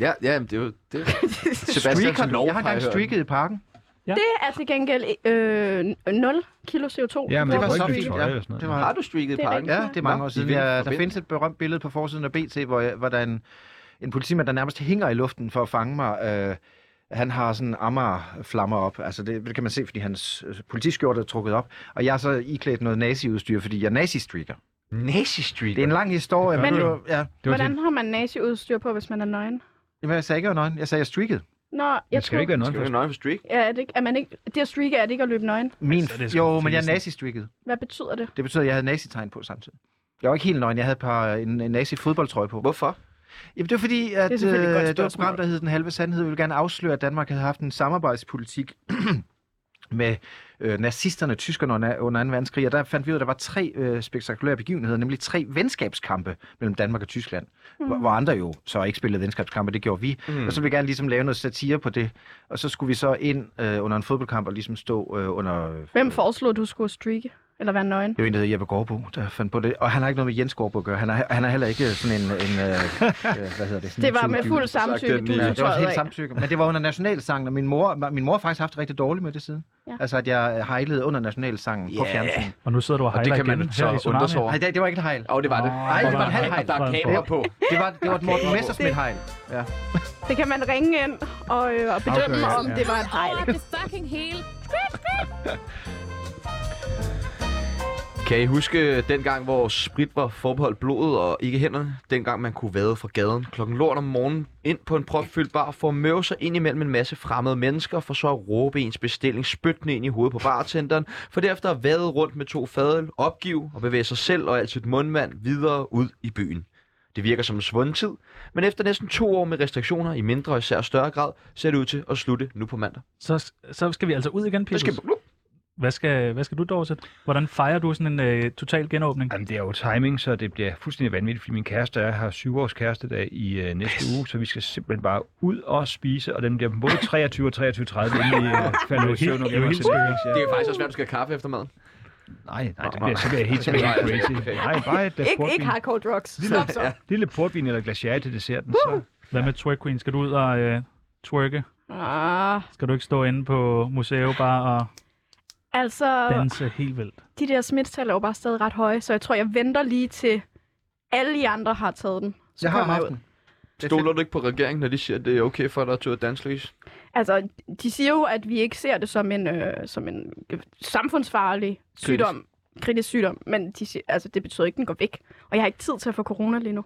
Speaker 1: Ja, ja, men det er jo... Det er Sebastians
Speaker 3: Streaker,
Speaker 1: lov,
Speaker 3: jeg har
Speaker 1: har jeg
Speaker 3: engang
Speaker 1: hørt.
Speaker 3: streaket i parken.
Speaker 2: Det er til gengæld øh, 0 kilo CO2.
Speaker 5: Ja,
Speaker 2: Det
Speaker 5: men
Speaker 3: var
Speaker 5: det var
Speaker 3: så
Speaker 5: ikke bytte
Speaker 3: fint,
Speaker 5: tøj
Speaker 3: ja.
Speaker 5: eller sådan
Speaker 3: Det
Speaker 5: noget.
Speaker 3: var,
Speaker 1: Har du streaket i
Speaker 2: Det er
Speaker 1: parken?
Speaker 2: rigvind.
Speaker 3: ja, det er mange
Speaker 1: Nå,
Speaker 3: år
Speaker 1: i
Speaker 3: siden.
Speaker 1: vind.
Speaker 3: Jeg,
Speaker 1: For
Speaker 3: der
Speaker 1: vind.
Speaker 3: findes et berømt billede på forsiden af BT, hvor, jeg, hvor der er en, en politimand, der nærmest hænger i luften for at fange mig. Øh, han har sådan Amager-flammer op. Altså det, det kan man se, fordi hans øh, politiskjorte er trukket op. Og jeg har så iklædt noget nazi-udstyr, fordi jeg er nazi-streaker.
Speaker 1: Nazi-streaker?
Speaker 3: Det er en lang historie, men,
Speaker 2: Men-
Speaker 3: men det var, ja.
Speaker 5: Det var
Speaker 2: Hvordan har man nazi-udstyr på, hvis man er nøgen?
Speaker 3: Jamen, jeg sagde ikke, jeg var nøgen. Jeg sagde, jeg streakede.
Speaker 2: Nå,
Speaker 5: det
Speaker 2: jeg
Speaker 5: skal jo ikke være
Speaker 1: Skal vi
Speaker 5: noget.
Speaker 1: nøje på streak?
Speaker 2: Ja, er det, ikke, er man ikke, det at streake er det ikke at løbe nøgen.
Speaker 3: Min,
Speaker 4: Altså, det er sgu
Speaker 3: jo, men jeg er
Speaker 4: fesen.
Speaker 3: nazi-streaket.
Speaker 2: Hvad betyder det?
Speaker 3: Det betyder, at jeg havde nazi-tegn på samtidig. Jeg var ikke helt nøgen. Jeg havde et par, en, en nazi-fodboldtrøje på.
Speaker 1: Hvorfor?
Speaker 3: Jamen, det var fordi, at
Speaker 2: Det er
Speaker 3: det,
Speaker 2: selvfølgelig et godt
Speaker 3: øh, det var et
Speaker 2: spørgsmål.
Speaker 3: program, der hed Den Halve Sandhed. Vi ville gerne afsløre, at Danmark havde haft en samarbejdspolitik med øh, nazisterne, tyskerne under, under 2. verdenskrig. Og der fandt vi ud af, at der var tre øh, spektakulære begivenheder, nemlig tre venskabskampe mellem Danmark og Tyskland. Mm. Hvor, hvor andre jo så ikke spillede venskabskampe, det gjorde vi.
Speaker 1: Mm.
Speaker 3: Mm. Og så ville vi gerne ligesom lave noget satire på det. Og så skulle vi så ind øh, under en fodboldkamp og ligesom stå øh, under... øh,
Speaker 2: Hvem foreslog, du skulle streake? Eller være nøgen?
Speaker 3: det var en, der hedder Jeppe Gårdbo, der fandt på det. Og han har ikke noget med Jens Gårdbo at gøre. Han er, han er heller ikke sådan en... en øh, øh, hvad hedder det? Sådan
Speaker 2: Det
Speaker 3: en
Speaker 2: var med
Speaker 3: tyvedyvel.
Speaker 2: fuld samtykke,
Speaker 1: den
Speaker 2: du
Speaker 1: lige.
Speaker 3: Ja,
Speaker 2: ja,
Speaker 3: det var helt
Speaker 2: af.
Speaker 3: samtykke. Men det var under nationalsangen, og min mor, min mor har faktisk haft det rigtig dårligt med det siden.
Speaker 2: Ja.
Speaker 3: Ja. Altså, at jeg hejlede under nationalsangen yeah. på
Speaker 1: Ja.
Speaker 3: fjernsynet.
Speaker 4: Og nu sidder du og
Speaker 1: Og det
Speaker 4: hejler
Speaker 1: kan man
Speaker 4: igen
Speaker 1: så
Speaker 4: her i Tsunami.
Speaker 1: undre sig over.
Speaker 3: Nej, det, det var ikke et hejl.
Speaker 1: Åh, det var det.
Speaker 3: Nej, det var en halv hejl.
Speaker 1: Der er kamera på.
Speaker 3: Det var, det var et Morten
Speaker 1: Okay.
Speaker 3: Messersmith hejl. Ja.
Speaker 2: Det kan man ringe ind og, øh, og bedømme,
Speaker 5: Afgøre,
Speaker 2: om
Speaker 5: ja.
Speaker 2: det var en fejl.
Speaker 7: Over det fucking hele.
Speaker 1: Kan I huske dengang, hvor sprit var forbeholdt blodet og ikke hænderne? Dengang man kunne vade fra gaden klokken lort om morgenen ind på en propfyldt bar for at møve sig ind imellem en masse fremmede mennesker, for så at råbe ens bestilling spyttende ind i hovedet på bartenderen, for derefter at vade rundt med to fadøl, opgive og bevæge sig selv og alt sit mundvand videre ud i byen. Det virker som en svunden tid, men efter næsten to år med restriktioner i mindre og især større grad, ser det ud til at slutte nu på mandag.
Speaker 4: Så, så skal vi altså ud igen,
Speaker 1: Det
Speaker 4: Peter.
Speaker 1: skal
Speaker 4: Skal... Hvad, skal, hvad skal du, Dorset? Hvordan fejrer du sådan en øh, total genåbning?
Speaker 5: Jamen, det er jo timing, så det bliver fuldstændig vanvittigt, fordi min kæreste er, har syvårs kærestedag i øh, næste uge, så vi skal simpelthen bare ud og spise, og den bliver både 23 og 23 30, inden vi øh, falder i
Speaker 4: helt-
Speaker 5: søvn og
Speaker 4: det er jo
Speaker 5: bliver
Speaker 4: helt
Speaker 5: til Netflix, ja.
Speaker 1: Det er faktisk også svært, at du skal have kaffe efter maden.
Speaker 5: Nej, nej, det
Speaker 1: nej.
Speaker 5: bliver, så bliver jeg helt tilbage
Speaker 1: Nej,
Speaker 5: crazy.
Speaker 1: okay.
Speaker 5: Nej, bare et glas
Speaker 8: Ikke, ikke
Speaker 5: portvin.
Speaker 8: hardcore drugs. Stop så.
Speaker 5: Lille portvin eller glas sherry til desserten, så
Speaker 4: Hvad med twerk queen? Skal du ud og øh, twerke?
Speaker 2: Ah,
Speaker 4: Skal du ikke stå inde på museet bare og
Speaker 2: altså,
Speaker 3: Øh.
Speaker 4: danse helt vildt?
Speaker 2: de der smittetal er jo bare stadig ret høje, så jeg tror, jeg venter lige til alle de andre har taget den. Så
Speaker 3: Jeg har
Speaker 2: kommer
Speaker 3: haft
Speaker 2: ud.
Speaker 3: den. Det er
Speaker 1: Stoler du ikke på regeringen, når de siger, at det er okay for dig at tage ud og danse, Louise?
Speaker 2: Altså, de siger jo, at vi ikke ser det som en, øh, som en øh, samfundsfarlig sygdom, kritisk sygdom, men de siger, altså, det betyder ikke, at den går væk. Og jeg har ikke tid til at få corona lige nu.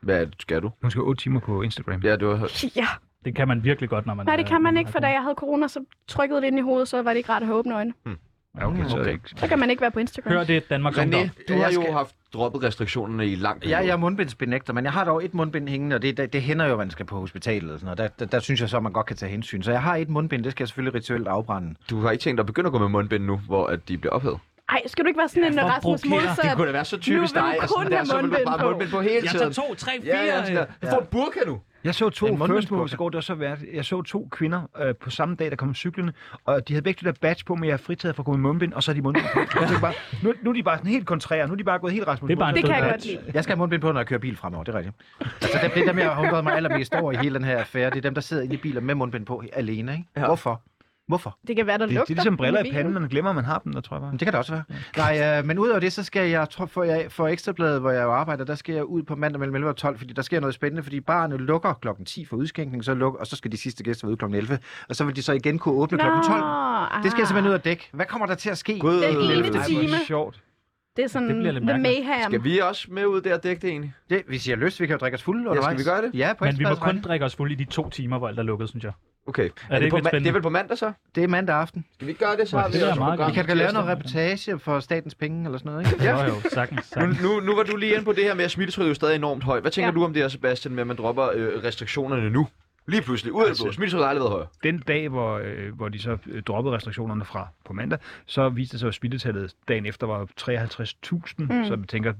Speaker 1: Hvad er det, skal du?
Speaker 5: hun skal 8 timer på Instagram.
Speaker 1: Ja, du har
Speaker 2: Ja,
Speaker 4: Det kan man virkelig godt, når man...
Speaker 2: nej, det
Speaker 4: øh,
Speaker 2: kan
Speaker 4: når
Speaker 2: man ikke, for
Speaker 4: har
Speaker 2: da jeg havde corona, så trykkede det ind i hovedet, så var det ikke rart at have åbne øjne.
Speaker 5: Ja, okay, så er det
Speaker 1: Okay.
Speaker 5: ikke.
Speaker 2: Så kan man ikke være på Instagram.
Speaker 4: corona. Hør det, Danmark Ungdom.
Speaker 1: René, du
Speaker 3: Jeg
Speaker 1: har jo
Speaker 3: skal-
Speaker 1: haft droppet restriktionerne i lang tid.
Speaker 3: Jeg, jeg er mundbindsbenægter, men jeg har dog et mundbind hængende, og det, det, det hænder jo, at man skal på hospitalet og sådan noget. Der, der, der synes jeg så, at man godt kan tage hensyn. Så jeg har et mundbind, det skal jeg selvfølgelig rituelt afbrænde.
Speaker 1: Du har ikke tænkt dig at begynde at gå med mundbind nu, hvor at de bliver ophedet.
Speaker 2: Ej, skal du ikke være sådan en
Speaker 4: Ja, for at
Speaker 2: Rasmus
Speaker 4: provokere.
Speaker 1: Det
Speaker 2: Modsat?
Speaker 1: kunne da være så typisk
Speaker 2: Nu vil
Speaker 1: dig.
Speaker 2: du
Speaker 1: at
Speaker 2: kun
Speaker 1: sådan der,
Speaker 2: have
Speaker 1: så vil du
Speaker 2: mundbind
Speaker 1: bare
Speaker 2: på.
Speaker 1: have mundbind på hele
Speaker 4: Jeg
Speaker 1: tiden.
Speaker 4: tager Altså, to, tre, fire... øh.
Speaker 1: Ja, altså. ja, sådan der. Du får en burka nu.
Speaker 5: Jeg så
Speaker 3: En
Speaker 5: to first
Speaker 3: mundbindsbog.
Speaker 5: på i går, det var så værd. Jeg så to kvinder øh, på samme dag, der kom cyklerne, og de havde begge det der badge på, men jeg er fritaget for at gå med mundbind, og så er de mundbind på. Jeg tænkte bare, nu, nu er de bare sådan helt kontrære, nu er de bare gået helt Rasmus
Speaker 4: Det er bare en
Speaker 2: Det
Speaker 5: Modsat.
Speaker 2: kan
Speaker 4: død
Speaker 2: jeg
Speaker 4: mand.
Speaker 2: godt lide.
Speaker 3: Jeg skal have mundbind på, når jeg kører bil fremover, det er rigtigt. Altså, det, det er dem, jeg har undret mig allermest over i hele den her affære. Det er dem, der sidder inde i biler med mundbind på alene, ikke? Ja. Hvorfor? Hvorfor?
Speaker 2: Det kan være, der
Speaker 5: Det,
Speaker 2: lugter.
Speaker 5: det er ligesom briller i
Speaker 2: bilen.
Speaker 5: panden, man glemmer, man har dem, der tror jeg bare.
Speaker 3: Men det kan det også være. Nej, øh, men udover det, så skal jeg, tror, for, jeg for Ekstrabladet, hvor jeg jo arbejder, der skal jeg ud på mandag mellem 11 og 12, fordi der sker noget spændende, fordi barne lukker klokken 10 for udskænkning, så luk, og så skal de sidste gæster være ude klokken 11, og så vil de så igen kunne åbne
Speaker 2: Nå,
Speaker 3: klokken 12. Det skal jeg simpelthen
Speaker 2: ah.
Speaker 3: ud og dække. Hvad kommer der til at ske?
Speaker 1: Gud.
Speaker 2: Det er
Speaker 1: Øh,
Speaker 2: evigt
Speaker 5: Ej, hvor er
Speaker 2: time.
Speaker 5: det sjovt.
Speaker 2: Det er sådan
Speaker 4: Det bliver lidt
Speaker 2: the
Speaker 4: mærkeligt.
Speaker 2: mayhem.
Speaker 1: Skal vi også med ud der og dække det egentlig?
Speaker 3: Det, hvis I har lyst, vi kan jo drikke os fulde undervejs.
Speaker 1: vi gøre det?
Speaker 3: Ja, på
Speaker 4: Men vi må
Speaker 3: Ekstrabladets
Speaker 4: kun
Speaker 3: vegne.
Speaker 4: drikke os fulde i de to timer, hvor alt er lukket, synes jeg.
Speaker 1: Okay. Er,
Speaker 4: det ikke
Speaker 1: på
Speaker 4: lidt
Speaker 1: ma-
Speaker 4: spændende?
Speaker 1: det er vel på mandag så?
Speaker 3: Det er mandag aften.
Speaker 1: Skal vi ikke gøre det, så
Speaker 4: Nå,
Speaker 1: har
Speaker 4: det
Speaker 1: vi
Speaker 4: er
Speaker 1: også
Speaker 4: meget
Speaker 1: program.
Speaker 3: Vi kan da
Speaker 1: til
Speaker 3: lave noget
Speaker 1: tirsdag.
Speaker 3: reportage for statens penge eller sådan noget, ikke?
Speaker 1: Ja.
Speaker 4: Jo, jo, sagtens.
Speaker 1: Nu,
Speaker 4: sagtens.
Speaker 1: nu, nu var du lige inde på det her med, at smittetrykket er jo stadig enormt højt. Hvad tænker
Speaker 2: Ja.
Speaker 1: du om det her, Sebastian, med at man dropper øh, restriktionerne nu? Lige pludselig, ud af
Speaker 4: Altså-
Speaker 1: det blå. Smittetrykket har aldrig været højere.
Speaker 5: Den dag, hvor, øh, hvor de så øh, droppede restriktionerne fra på mandag, så viste det sig, at smittetallet dagen efter var 53.000, mm. så jeg tænker,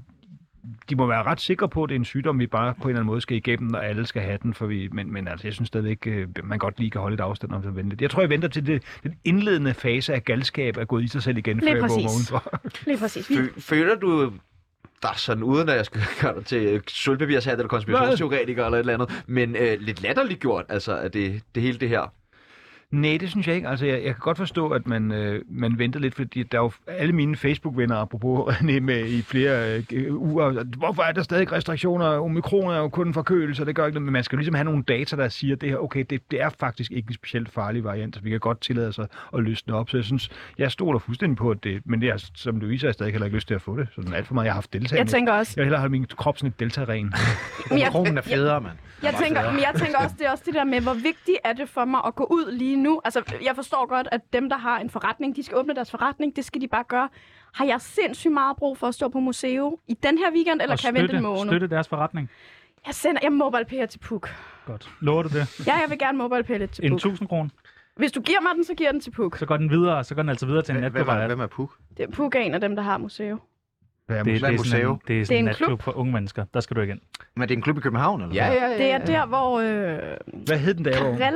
Speaker 5: de må være ret sikre på, at det er en sygdom, vi bare på en eller anden måde skal igennem, og alle skal have den, for vi, men, men altså, jeg synes stadigvæk, øh, man godt lige kan holde et afstand om så vente lidt. Jeg tror, jeg venter til det, den indledende fase af galskab er gået i sig selv igen, før jeg vågner
Speaker 2: præcis.
Speaker 5: udenfor.
Speaker 2: Lige præcis. Vi
Speaker 1: Fø- Føler du dig sådan, uden at jeg skal gøre dig til øh, sølvbevirshat eller konspirationsteoretiker eller et eller andet, men øh, lidt latterligt gjort, altså, at det, det hele det her.
Speaker 5: Nej, det synes jeg ikke. Altså, jeg, jeg kan godt forstå, at man, øh, man venter lidt, fordi der er jo alle mine Facebook-venner, apropos René, med i flere øh, øh, uger. Hvorfor er der stadig restriktioner? Omikron er jo kun en forkølelse, og det gør ikke noget. Men man skal jo ligesom have nogle data, der siger, at det her, okay, det, det er faktisk ikke en specielt farlig variant, så vi kan godt tillade os at, at løsne op. Så jeg synes, jeg stoler fuldstændig på, at det, men det er, som Louise har jeg stadig heller ikke lyst til at få det. Sådan alt for meget, jeg har haft deltagende.
Speaker 2: Jeg tænker også,
Speaker 5: jeg vil hellere holde min krop sådan et delta-ren.
Speaker 2: men jeg,
Speaker 3: Kronen er federe, mand.
Speaker 2: jeg, tænker, men jeg tænker også, det er også det der med, hvor vigtigt er det for mig at gå ud lige nu. Altså, jeg forstår godt, at dem, der har en forretning, de skal åbne deres forretning, det skal de bare gøre. Har jeg sindssygt meget brug for at stå på museum i den her weekend, eller
Speaker 4: og
Speaker 2: kan jeg vente en måned?
Speaker 4: støtte deres forretning.
Speaker 2: Jeg sender, jeg mobile til Puk.
Speaker 4: Godt. Lover du det?
Speaker 2: Ja, jeg vil gerne mobile lidt til
Speaker 4: En
Speaker 2: Puk.
Speaker 4: 1000 kroner.
Speaker 2: Hvis du giver mig den, så giver jeg den til Puk.
Speaker 4: Så går den videre, så går den altså videre til en
Speaker 3: Hvem,
Speaker 4: natklub.
Speaker 3: hvem, er,
Speaker 4: eller-
Speaker 3: hvem er Puk?
Speaker 2: Det er Puk er en af dem, der har museum.
Speaker 5: Hvad er
Speaker 4: Det,
Speaker 5: det,
Speaker 3: Hvad er
Speaker 4: det, er sådan en,
Speaker 3: museum?
Speaker 4: det er sådan en
Speaker 2: en klub.
Speaker 4: natklub for unge mennesker. Der skal du igen.
Speaker 3: Men det er en klub i København, eller hvad?
Speaker 1: ja,
Speaker 2: Det er der, hvor... Øh,
Speaker 5: hvad hed den der? hvor-
Speaker 2: Karel...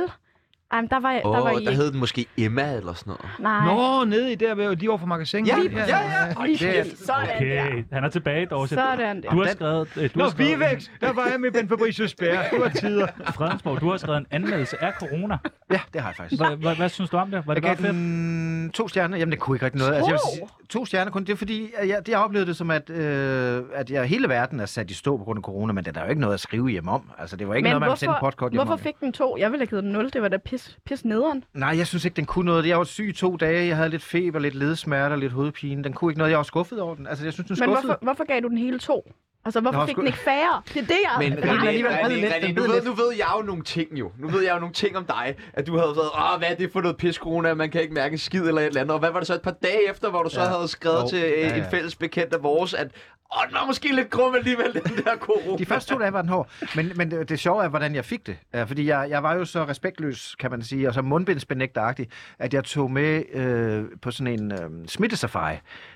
Speaker 2: Ej, men der var, der var
Speaker 1: Åh,
Speaker 2: I
Speaker 1: der
Speaker 2: ikke.
Speaker 1: hed den måske Emma eller sådan noget.
Speaker 2: Nej.
Speaker 5: Nå, nede i der, ved- lige over for magasin.
Speaker 1: Ja, ja, ja.
Speaker 2: Lige præcis. Sådan der.
Speaker 4: Okay, han er tilbage, Dorset.
Speaker 2: Sådan der.
Speaker 4: Du har skrevet... øh, Du
Speaker 5: Nå,
Speaker 4: har skrevet,
Speaker 5: Vivex, der var jeg med Ben Fabricius Bær. Det var tider.
Speaker 4: Fredensborg, du har skrevet en anmeldelse af corona.
Speaker 3: Ja, det har jeg faktisk.
Speaker 4: Hvad, hvad, hvad synes du om det? Var det
Speaker 3: Jeg
Speaker 4: bare
Speaker 3: gav
Speaker 4: fedt?
Speaker 3: den to stjerner. Jamen, det kunne ikke rigtig noget. Altså, jeg vil sige, to stjerner kun. Det er fordi, at jeg, det, jeg oplevede det som, at, øh, at jeg, hele verden er sat i stå på grund af corona, men der er jo ikke noget at skrive hjem om. Altså, det var ikke
Speaker 2: Men
Speaker 3: noget, man
Speaker 2: hvorfor-
Speaker 3: sendte podcast hjem
Speaker 2: Hvorfor
Speaker 3: om.
Speaker 2: fik den to? Jeg ville have givet den 0. Det var da pis, pis nederen.
Speaker 3: Nej, jeg synes ikke, den kunne noget. Jeg var syg i to dage. Jeg havde lidt feber, lidt ledsmerter, lidt hovedpine. Den kunne ikke noget. Jeg var skuffet over den. Altså, jeg synes, den
Speaker 2: Men
Speaker 3: skuffede.
Speaker 2: hvorfor, hvorfor gav du den hele to? Altså, hvorfor
Speaker 3: Nå,
Speaker 2: Nå, fik
Speaker 3: sku-
Speaker 2: den ikke færre? Det er det, jeg...
Speaker 1: Men
Speaker 3: den er alligevel ved lidt, den
Speaker 1: nu,
Speaker 3: ved
Speaker 1: ved,
Speaker 3: lidt.
Speaker 1: nu ved jeg jo nogle ting jo. Nu ved jeg jo nogle ting om dig, at du havde været, åh, hvad er det for noget pis, corona, man kan ikke mærke en skid eller et eller andet. Og hvad var det så et par dage efter, hvor du så
Speaker 3: Ja.
Speaker 1: havde skrevet
Speaker 3: Jo.
Speaker 1: til øh,
Speaker 3: Ja, ja.
Speaker 1: en fælles bekendt af vores, at Åh, den var måske lidt grum alligevel, den der koro.
Speaker 3: De første to dage var den hård, men, men det, det sjove er, hvordan jeg fik det. Øh, Fordi jeg, jeg var jo så respektløs, kan man sige, og så mundbindsbenægteragtig, at jeg tog med øh, på sådan en øh, smittesafari.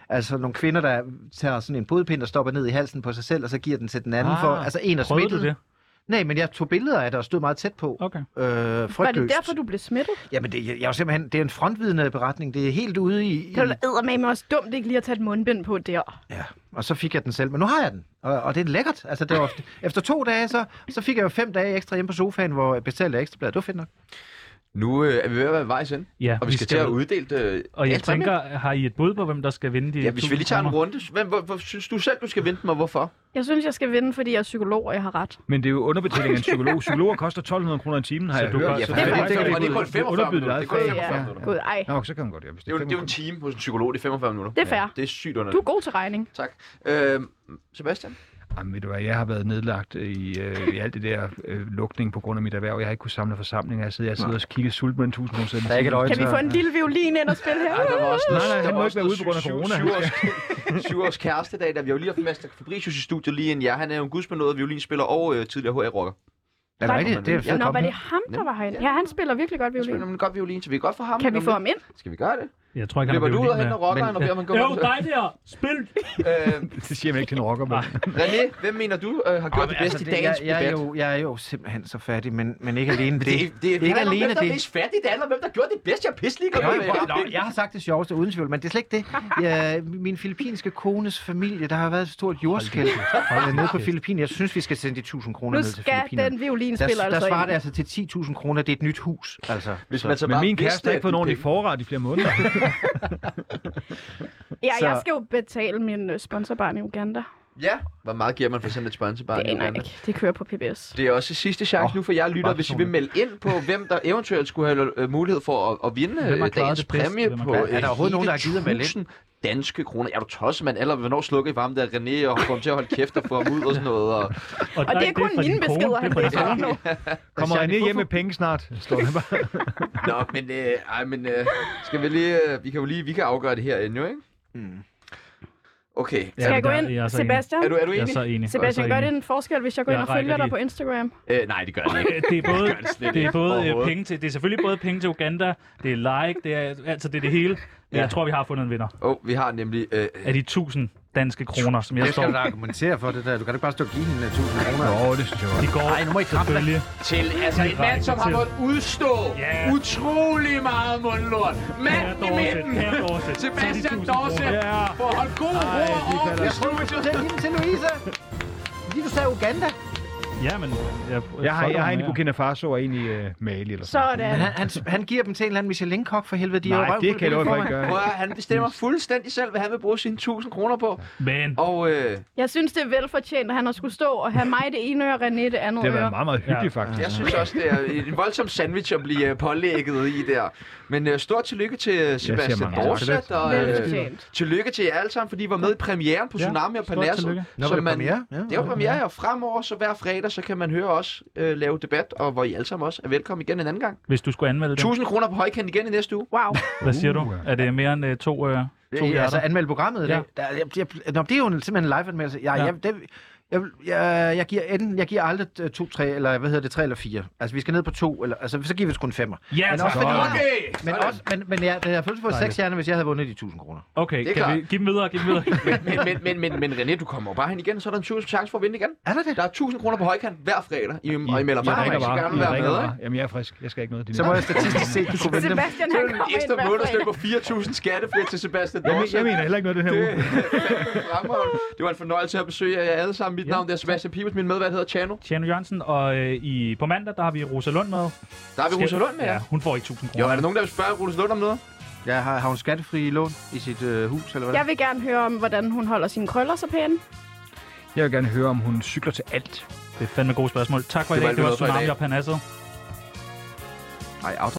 Speaker 3: Altså nogle kvinder, der tager sådan en bodpind og stopper ned i halsen på sig selv, og så giver den til den anden ah,
Speaker 4: Ah,
Speaker 3: for... Altså en er
Speaker 4: Prøvede
Speaker 3: smittet.
Speaker 4: du det?
Speaker 3: Nej, men jeg tog billeder af det og stod meget tæt på.
Speaker 4: Okay.
Speaker 3: Øh,
Speaker 2: Var det derfor, du blev smittet?
Speaker 3: Jamen, det, jeg, jeg er jo simpelthen, det er en frontvidende beretning. Det er helt ude i... i...
Speaker 2: Det var eddermame også dumt ikke lige at tage et mundbind på der.
Speaker 3: Ja, og så fik jeg den selv. Men nu har jeg den, og, og det er lækkert. Altså, det var, efter to dage, så, så fik jeg jo fem dage ekstra hjemme på sofaen, hvor jeg betalte ekstra blad. Det var fedt nok.
Speaker 1: Nu øh, er vi ved at være vejs ind,
Speaker 4: Ja,
Speaker 1: og vi skal til at uddele øh,
Speaker 4: Og jeg
Speaker 1: alt sammen.
Speaker 4: tænker, har I et bud på, hvem der skal vinde de
Speaker 1: Ja, hvis vi
Speaker 4: 1000
Speaker 1: lige tager en
Speaker 4: kroner?
Speaker 1: runde. Hvem, hvor, hvor, synes du selv, du skal vente mig? Hvorfor?
Speaker 2: Jeg synes, jeg skal vinde, fordi jeg er psykolog, og jeg har ret.
Speaker 5: Men det er jo underbetaling af en psykolog. Psykologer koster 1200 kroner i timen, har
Speaker 4: Så
Speaker 5: jeg
Speaker 4: du
Speaker 5: hørt.
Speaker 4: gør-
Speaker 5: Så
Speaker 4: så du
Speaker 5: det-
Speaker 4: gør-
Speaker 5: det- det-
Speaker 4: det-
Speaker 1: og det er kun
Speaker 5: det-
Speaker 1: 45
Speaker 5: underbyder
Speaker 1: minutter. Det er kun
Speaker 5: adfærd.
Speaker 1: 45
Speaker 2: Ja.
Speaker 1: minutter.
Speaker 2: Gud, ej.
Speaker 5: Nå, så kan man godt, ja. Hvis
Speaker 1: Det er, jo, det er jo en time hos en psykolog, det er 45 minutter.
Speaker 2: Det er fair.
Speaker 1: Det er sygt
Speaker 2: Du
Speaker 1: underligt.
Speaker 2: er god til regning.
Speaker 1: Tak. Øhm, Sebastian?
Speaker 5: Jamen, ved du hvad, jeg har været nedlagt i, øh, i alt det der øh, lukning på grund af mit erhverv. Jeg har ikke kundt samle forsamlinger. Jeg sidder, jeg sidder og kigger sulten med en tusind kroner.
Speaker 3: Der er ikke et øje
Speaker 2: Kan vi
Speaker 3: tør.
Speaker 2: få en lille violin ind og spille her?
Speaker 1: der var også
Speaker 5: noget- Nej, nej, han der må var ikke også være noget ude på grund af syv- corona.
Speaker 1: Syv,
Speaker 5: syv-
Speaker 1: års, syv års kæreste i dag, da vi har jo lige haft Master Fabricius i studiet lige inden jer. Han er jo en gudsbenået violinspiller og øh, tidligere HR-rocker.
Speaker 3: Er det
Speaker 2: Nej,
Speaker 3: rigtigt? Det er fedt
Speaker 2: Nå, var det
Speaker 3: kommet.
Speaker 2: ham, der var herinde? Ja, han spiller virkelig godt
Speaker 1: Han spiller
Speaker 2: violin.
Speaker 1: nemlig godt violin, så vi kan godt få ham.
Speaker 2: Kan vi
Speaker 1: Om
Speaker 2: få
Speaker 1: lidt.
Speaker 2: ham ind?
Speaker 1: Skal vi gøre det?
Speaker 4: Jeg tror ikke, han
Speaker 1: Løber
Speaker 4: har
Speaker 1: du ud og
Speaker 4: violin
Speaker 1: henter
Speaker 4: med.
Speaker 1: rockeren og beder ham gå
Speaker 4: Jo, dig der! Spil!
Speaker 1: Øh,
Speaker 5: Det siger man ikke til en rocker, men...
Speaker 1: René, hvem mener du øh, har gjort det bedste
Speaker 3: Altså,
Speaker 1: i
Speaker 3: det, jeg,
Speaker 1: dagens
Speaker 3: jeg, er
Speaker 1: debat?
Speaker 3: jo, jeg er jo simpelthen så fattig, men, men ikke alene det.
Speaker 1: det, det, er ikke
Speaker 3: ikke
Speaker 1: alene hvem,
Speaker 3: alene
Speaker 1: der er
Speaker 3: det.
Speaker 1: mest fattig, det handler om, hvem der gjorde det bedst. Jeg er pisselig.
Speaker 3: Nå, nå, jeg har sagt det sjoveste, uden tvivl, men det er slet ikke det. Ja, min filippinske kones familie, der har været et stort jordskæld øh, nede på Filippinerne. Jeg synes, vi skal sende de 1000
Speaker 2: Nu
Speaker 3: kroner ned til
Speaker 2: skal
Speaker 3: Filippinerne.
Speaker 2: den
Speaker 3: Der,
Speaker 2: violinspiller
Speaker 3: der
Speaker 2: altså
Speaker 3: svarer det
Speaker 2: ind.
Speaker 3: altså til 10.000 kroner. Det er et nyt hus, altså.
Speaker 1: Hvis man så
Speaker 5: Men
Speaker 1: bare
Speaker 5: min
Speaker 1: vidste,
Speaker 5: kæreste har ikke fået
Speaker 1: at
Speaker 5: en ordentlig
Speaker 1: de
Speaker 5: forret i flere måneder.
Speaker 2: Ja, jeg
Speaker 3: så-
Speaker 2: skal jo betale min øh, sponsorbarn i Uganda.
Speaker 1: penge- Ja, hvor meget giver man for sådan et sponsorbarn?
Speaker 2: Det
Speaker 1: i
Speaker 2: aner jeg
Speaker 1: Uganda?
Speaker 2: ikke. Det kører på PBS.
Speaker 1: Det er også sidste chance
Speaker 3: Åh,
Speaker 1: oh, nu for jer lytter,
Speaker 3: meget
Speaker 1: hvis I vil melde ind på, hvem der eventuelt skulle have øh, mulighed for at, at vinde
Speaker 4: Hvem har
Speaker 1: øh,
Speaker 4: klaret
Speaker 1: dagens
Speaker 4: det bedst?
Speaker 1: præmie
Speaker 4: Hvem har
Speaker 1: på
Speaker 4: klaret
Speaker 3: det? Er der overhovedet nogen, der har gidet at melde ind?
Speaker 1: 1000 danske kroner. Er du tosset, mand? Eller hvornår slukker I varmen der René og kommer til at holde kæft og få ham ud og sådan noget? Og...
Speaker 2: Og det er kun
Speaker 4: fra din
Speaker 2: mine
Speaker 4: kone,
Speaker 2: beskeder,
Speaker 4: det er
Speaker 2: han
Speaker 4: fra din
Speaker 2: læser op
Speaker 4: kone.
Speaker 2: nu.
Speaker 5: Kommer René hjem med penge snart? Står der bare.
Speaker 1: Nå, men, øh, ej, men øh, skal vi lige, øh, vi kan jo lige, vi kan afgøre det her endnu, ikke?
Speaker 3: Mm.
Speaker 1: Okay.
Speaker 2: Skal jeg gå
Speaker 4: der-
Speaker 2: ind?
Speaker 4: jeg er så enig.
Speaker 2: Sebastian?
Speaker 1: Er du, er du altså,
Speaker 4: Jeg er
Speaker 1: enig?
Speaker 4: så enig.
Speaker 2: Sebastian,
Speaker 4: Jeg
Speaker 2: gør
Speaker 4: er så
Speaker 2: det
Speaker 4: enig.
Speaker 2: en forskel, hvis jeg går ind
Speaker 4: Jeg
Speaker 2: og følger
Speaker 4: rækker
Speaker 2: dig
Speaker 4: lige.
Speaker 2: på Instagram?
Speaker 1: Øh, nej, det gør det ikke.
Speaker 4: Det er både,
Speaker 1: gør det slet
Speaker 4: det er
Speaker 1: ikke.
Speaker 4: både øh,
Speaker 1: Overhovedet.
Speaker 4: penge til, det er selvfølgelig både penge til Uganda, det er like, det er, altså det er det hele. Men
Speaker 1: Ja.
Speaker 4: jeg tror, vi har fundet en vinder
Speaker 1: Åh, oh, vi har nemlig... Øh,
Speaker 4: af de 1000 danske kroner, som jeg
Speaker 3: Jeg
Speaker 4: står.
Speaker 3: skal da argumentere for det der. Du kan da ikke bare stå og give hende 1000 kroner.
Speaker 5: Nå, det synes jeg
Speaker 4: De
Speaker 5: godt.
Speaker 4: går
Speaker 3: Ej, nu må I kramme dig.
Speaker 4: selvfølgelig.
Speaker 1: til altså en mand, som har måttet udstå
Speaker 4: Ja.
Speaker 1: yeah. utrolig meget mundlort. Manden i midten, Sebastian Dorset,
Speaker 4: Ja.
Speaker 1: for at holde gode ord over for studiet.
Speaker 3: Fortæl hende til Louise. Fordi du sagde Uganda.
Speaker 4: ja, men... Jeg,
Speaker 5: Jeg har, jeg har en i
Speaker 4: en
Speaker 5: Burkina Faso og en i øh, Mali. Eller sådan.
Speaker 2: Sådan.
Speaker 3: Men han, han, han giver dem til en eller anden Michelin-kok for helvede. De er jo
Speaker 5: Nej, det
Speaker 3: røvfulde
Speaker 5: kan jeg love, for ikke
Speaker 3: forvejen.
Speaker 5: gøre.
Speaker 1: Prøv at, høre, han bestemmer fuldstændig selv, hvad han vil bruge sine 1000 kroner på.
Speaker 4: Men
Speaker 1: Og øh,
Speaker 2: Jeg synes, det er velfortjent, at han har skulle stå og have mig det ene øre, René det andet
Speaker 5: Det har
Speaker 2: øre.
Speaker 5: været meget, meget hyggeligt,
Speaker 4: Ja.
Speaker 5: faktisk.
Speaker 1: jeg synes også, det er en voldsom sandwich at blive øh, pålægget i der. Men øh, stort tillykke til øh, Sebastian
Speaker 5: mange tak.
Speaker 1: Dorset, og øh,
Speaker 2: Velfortjent.
Speaker 1: tillykke til jer alle sammen, fordi I var med i premieren på
Speaker 4: Ja,
Speaker 1: Tsunami og
Speaker 4: stort
Speaker 1: Parnasset.
Speaker 4: tillykke.
Speaker 3: Nå, var
Speaker 1: som
Speaker 3: det
Speaker 1: man-
Speaker 3: premiere? Ja,
Speaker 1: Det er jo premiere, og fremover, så hver fredag, så kan man høre os øh, lave debat, og hvor I alle sammen også er velkommen igen en anden gang.
Speaker 4: hvis du skulle anmelde det,
Speaker 1: 1000 kroner på højkant igen i næste uge.
Speaker 2: Wow.
Speaker 4: hvad siger du?
Speaker 5: Uh, ja.
Speaker 4: Er det mere end øh, to... Øh,
Speaker 3: ja.
Speaker 4: to
Speaker 3: ja, altså
Speaker 4: hjerter?
Speaker 3: anmelde programmet i dag.
Speaker 4: Ja.
Speaker 3: Der, jeg, jeg, nå, det er jo en, simpelthen en live-anmeldelse. Jeg,
Speaker 4: Ja.
Speaker 3: ja. jeg, det, jeg, jeg, jeg, giver enten, jeg giver aldrig øh, to, tre, eller hvad hedder det, tre eller fire. Altså, vi skal ned på to, eller, altså, så giver vi sgu en femmer.
Speaker 4: Ja,
Speaker 3: Men
Speaker 4: tak.
Speaker 3: også fordi-
Speaker 1: Okay!
Speaker 3: Men, også, men, men jeg, jeg har pludselig fået seks stjerner, hvis jeg havde vundet de 1000 kroner.
Speaker 4: Okay,
Speaker 1: Det er
Speaker 4: kan
Speaker 1: klart.
Speaker 4: vi give dem videre, give dem videre.
Speaker 1: Men, men, men, men, men René, du kommer jo bare hen igen, og så er der en 20 chance for at vinde igen.
Speaker 3: Er der det?
Speaker 1: Der er 1000 kroner på højkant hver fredag, I, og I melder
Speaker 5: Jeg
Speaker 1: bare,
Speaker 5: ringer
Speaker 1: I skal gerne
Speaker 5: bare.
Speaker 1: være
Speaker 5: Jeg
Speaker 1: med.
Speaker 5: ringer
Speaker 1: Ikke?
Speaker 5: bare. Jamen, jeg er frisk. Jeg skal ikke noget. Det er
Speaker 3: Så må jeg statistisk set kunne vinde dem.
Speaker 2: Sebastian,
Speaker 1: Så
Speaker 2: han
Speaker 1: er det
Speaker 2: kommer
Speaker 1: en
Speaker 2: ind
Speaker 1: ekstra
Speaker 2: hver
Speaker 1: månedsløn
Speaker 2: fredag.
Speaker 1: på 4.000 skattefri til Sebastian
Speaker 5: jeg, men-
Speaker 1: Dorsen.
Speaker 5: jeg mener heller ikke noget, den her uge.
Speaker 1: Fremragende. Det var en fornøjelse at besøge jer alle sammen. Mit
Speaker 4: Ja.
Speaker 1: navn er Sebastian Pibels, min medvært hedder Chano.
Speaker 4: Tjerno Jørgensen, og øh, i, på mandag, der har vi Rosa Lund med.
Speaker 1: Der er vi Rosa Lund med
Speaker 4: Ja,
Speaker 1: jer.
Speaker 4: hun får ikke 1000 kroner.
Speaker 1: Jo, er der nogen, der vil spørge Rosa Lund om noget?
Speaker 3: Jeg har, har hun skattefri lån i sit øh, hus, eller hvad?
Speaker 2: Jeg vil gerne høre om, hvordan hun holder sine krøller så pæne.
Speaker 5: Jeg vil gerne høre, om hun cykler til alt.
Speaker 4: Det er fandme gode spørgsmål. Tak for
Speaker 1: Det
Speaker 4: i
Speaker 1: var
Speaker 4: dag.
Speaker 1: alt, vi
Speaker 4: Det var
Speaker 1: nåede for i
Speaker 4: Tsunami
Speaker 1: dag.
Speaker 4: og Panasset.
Speaker 3: Nej,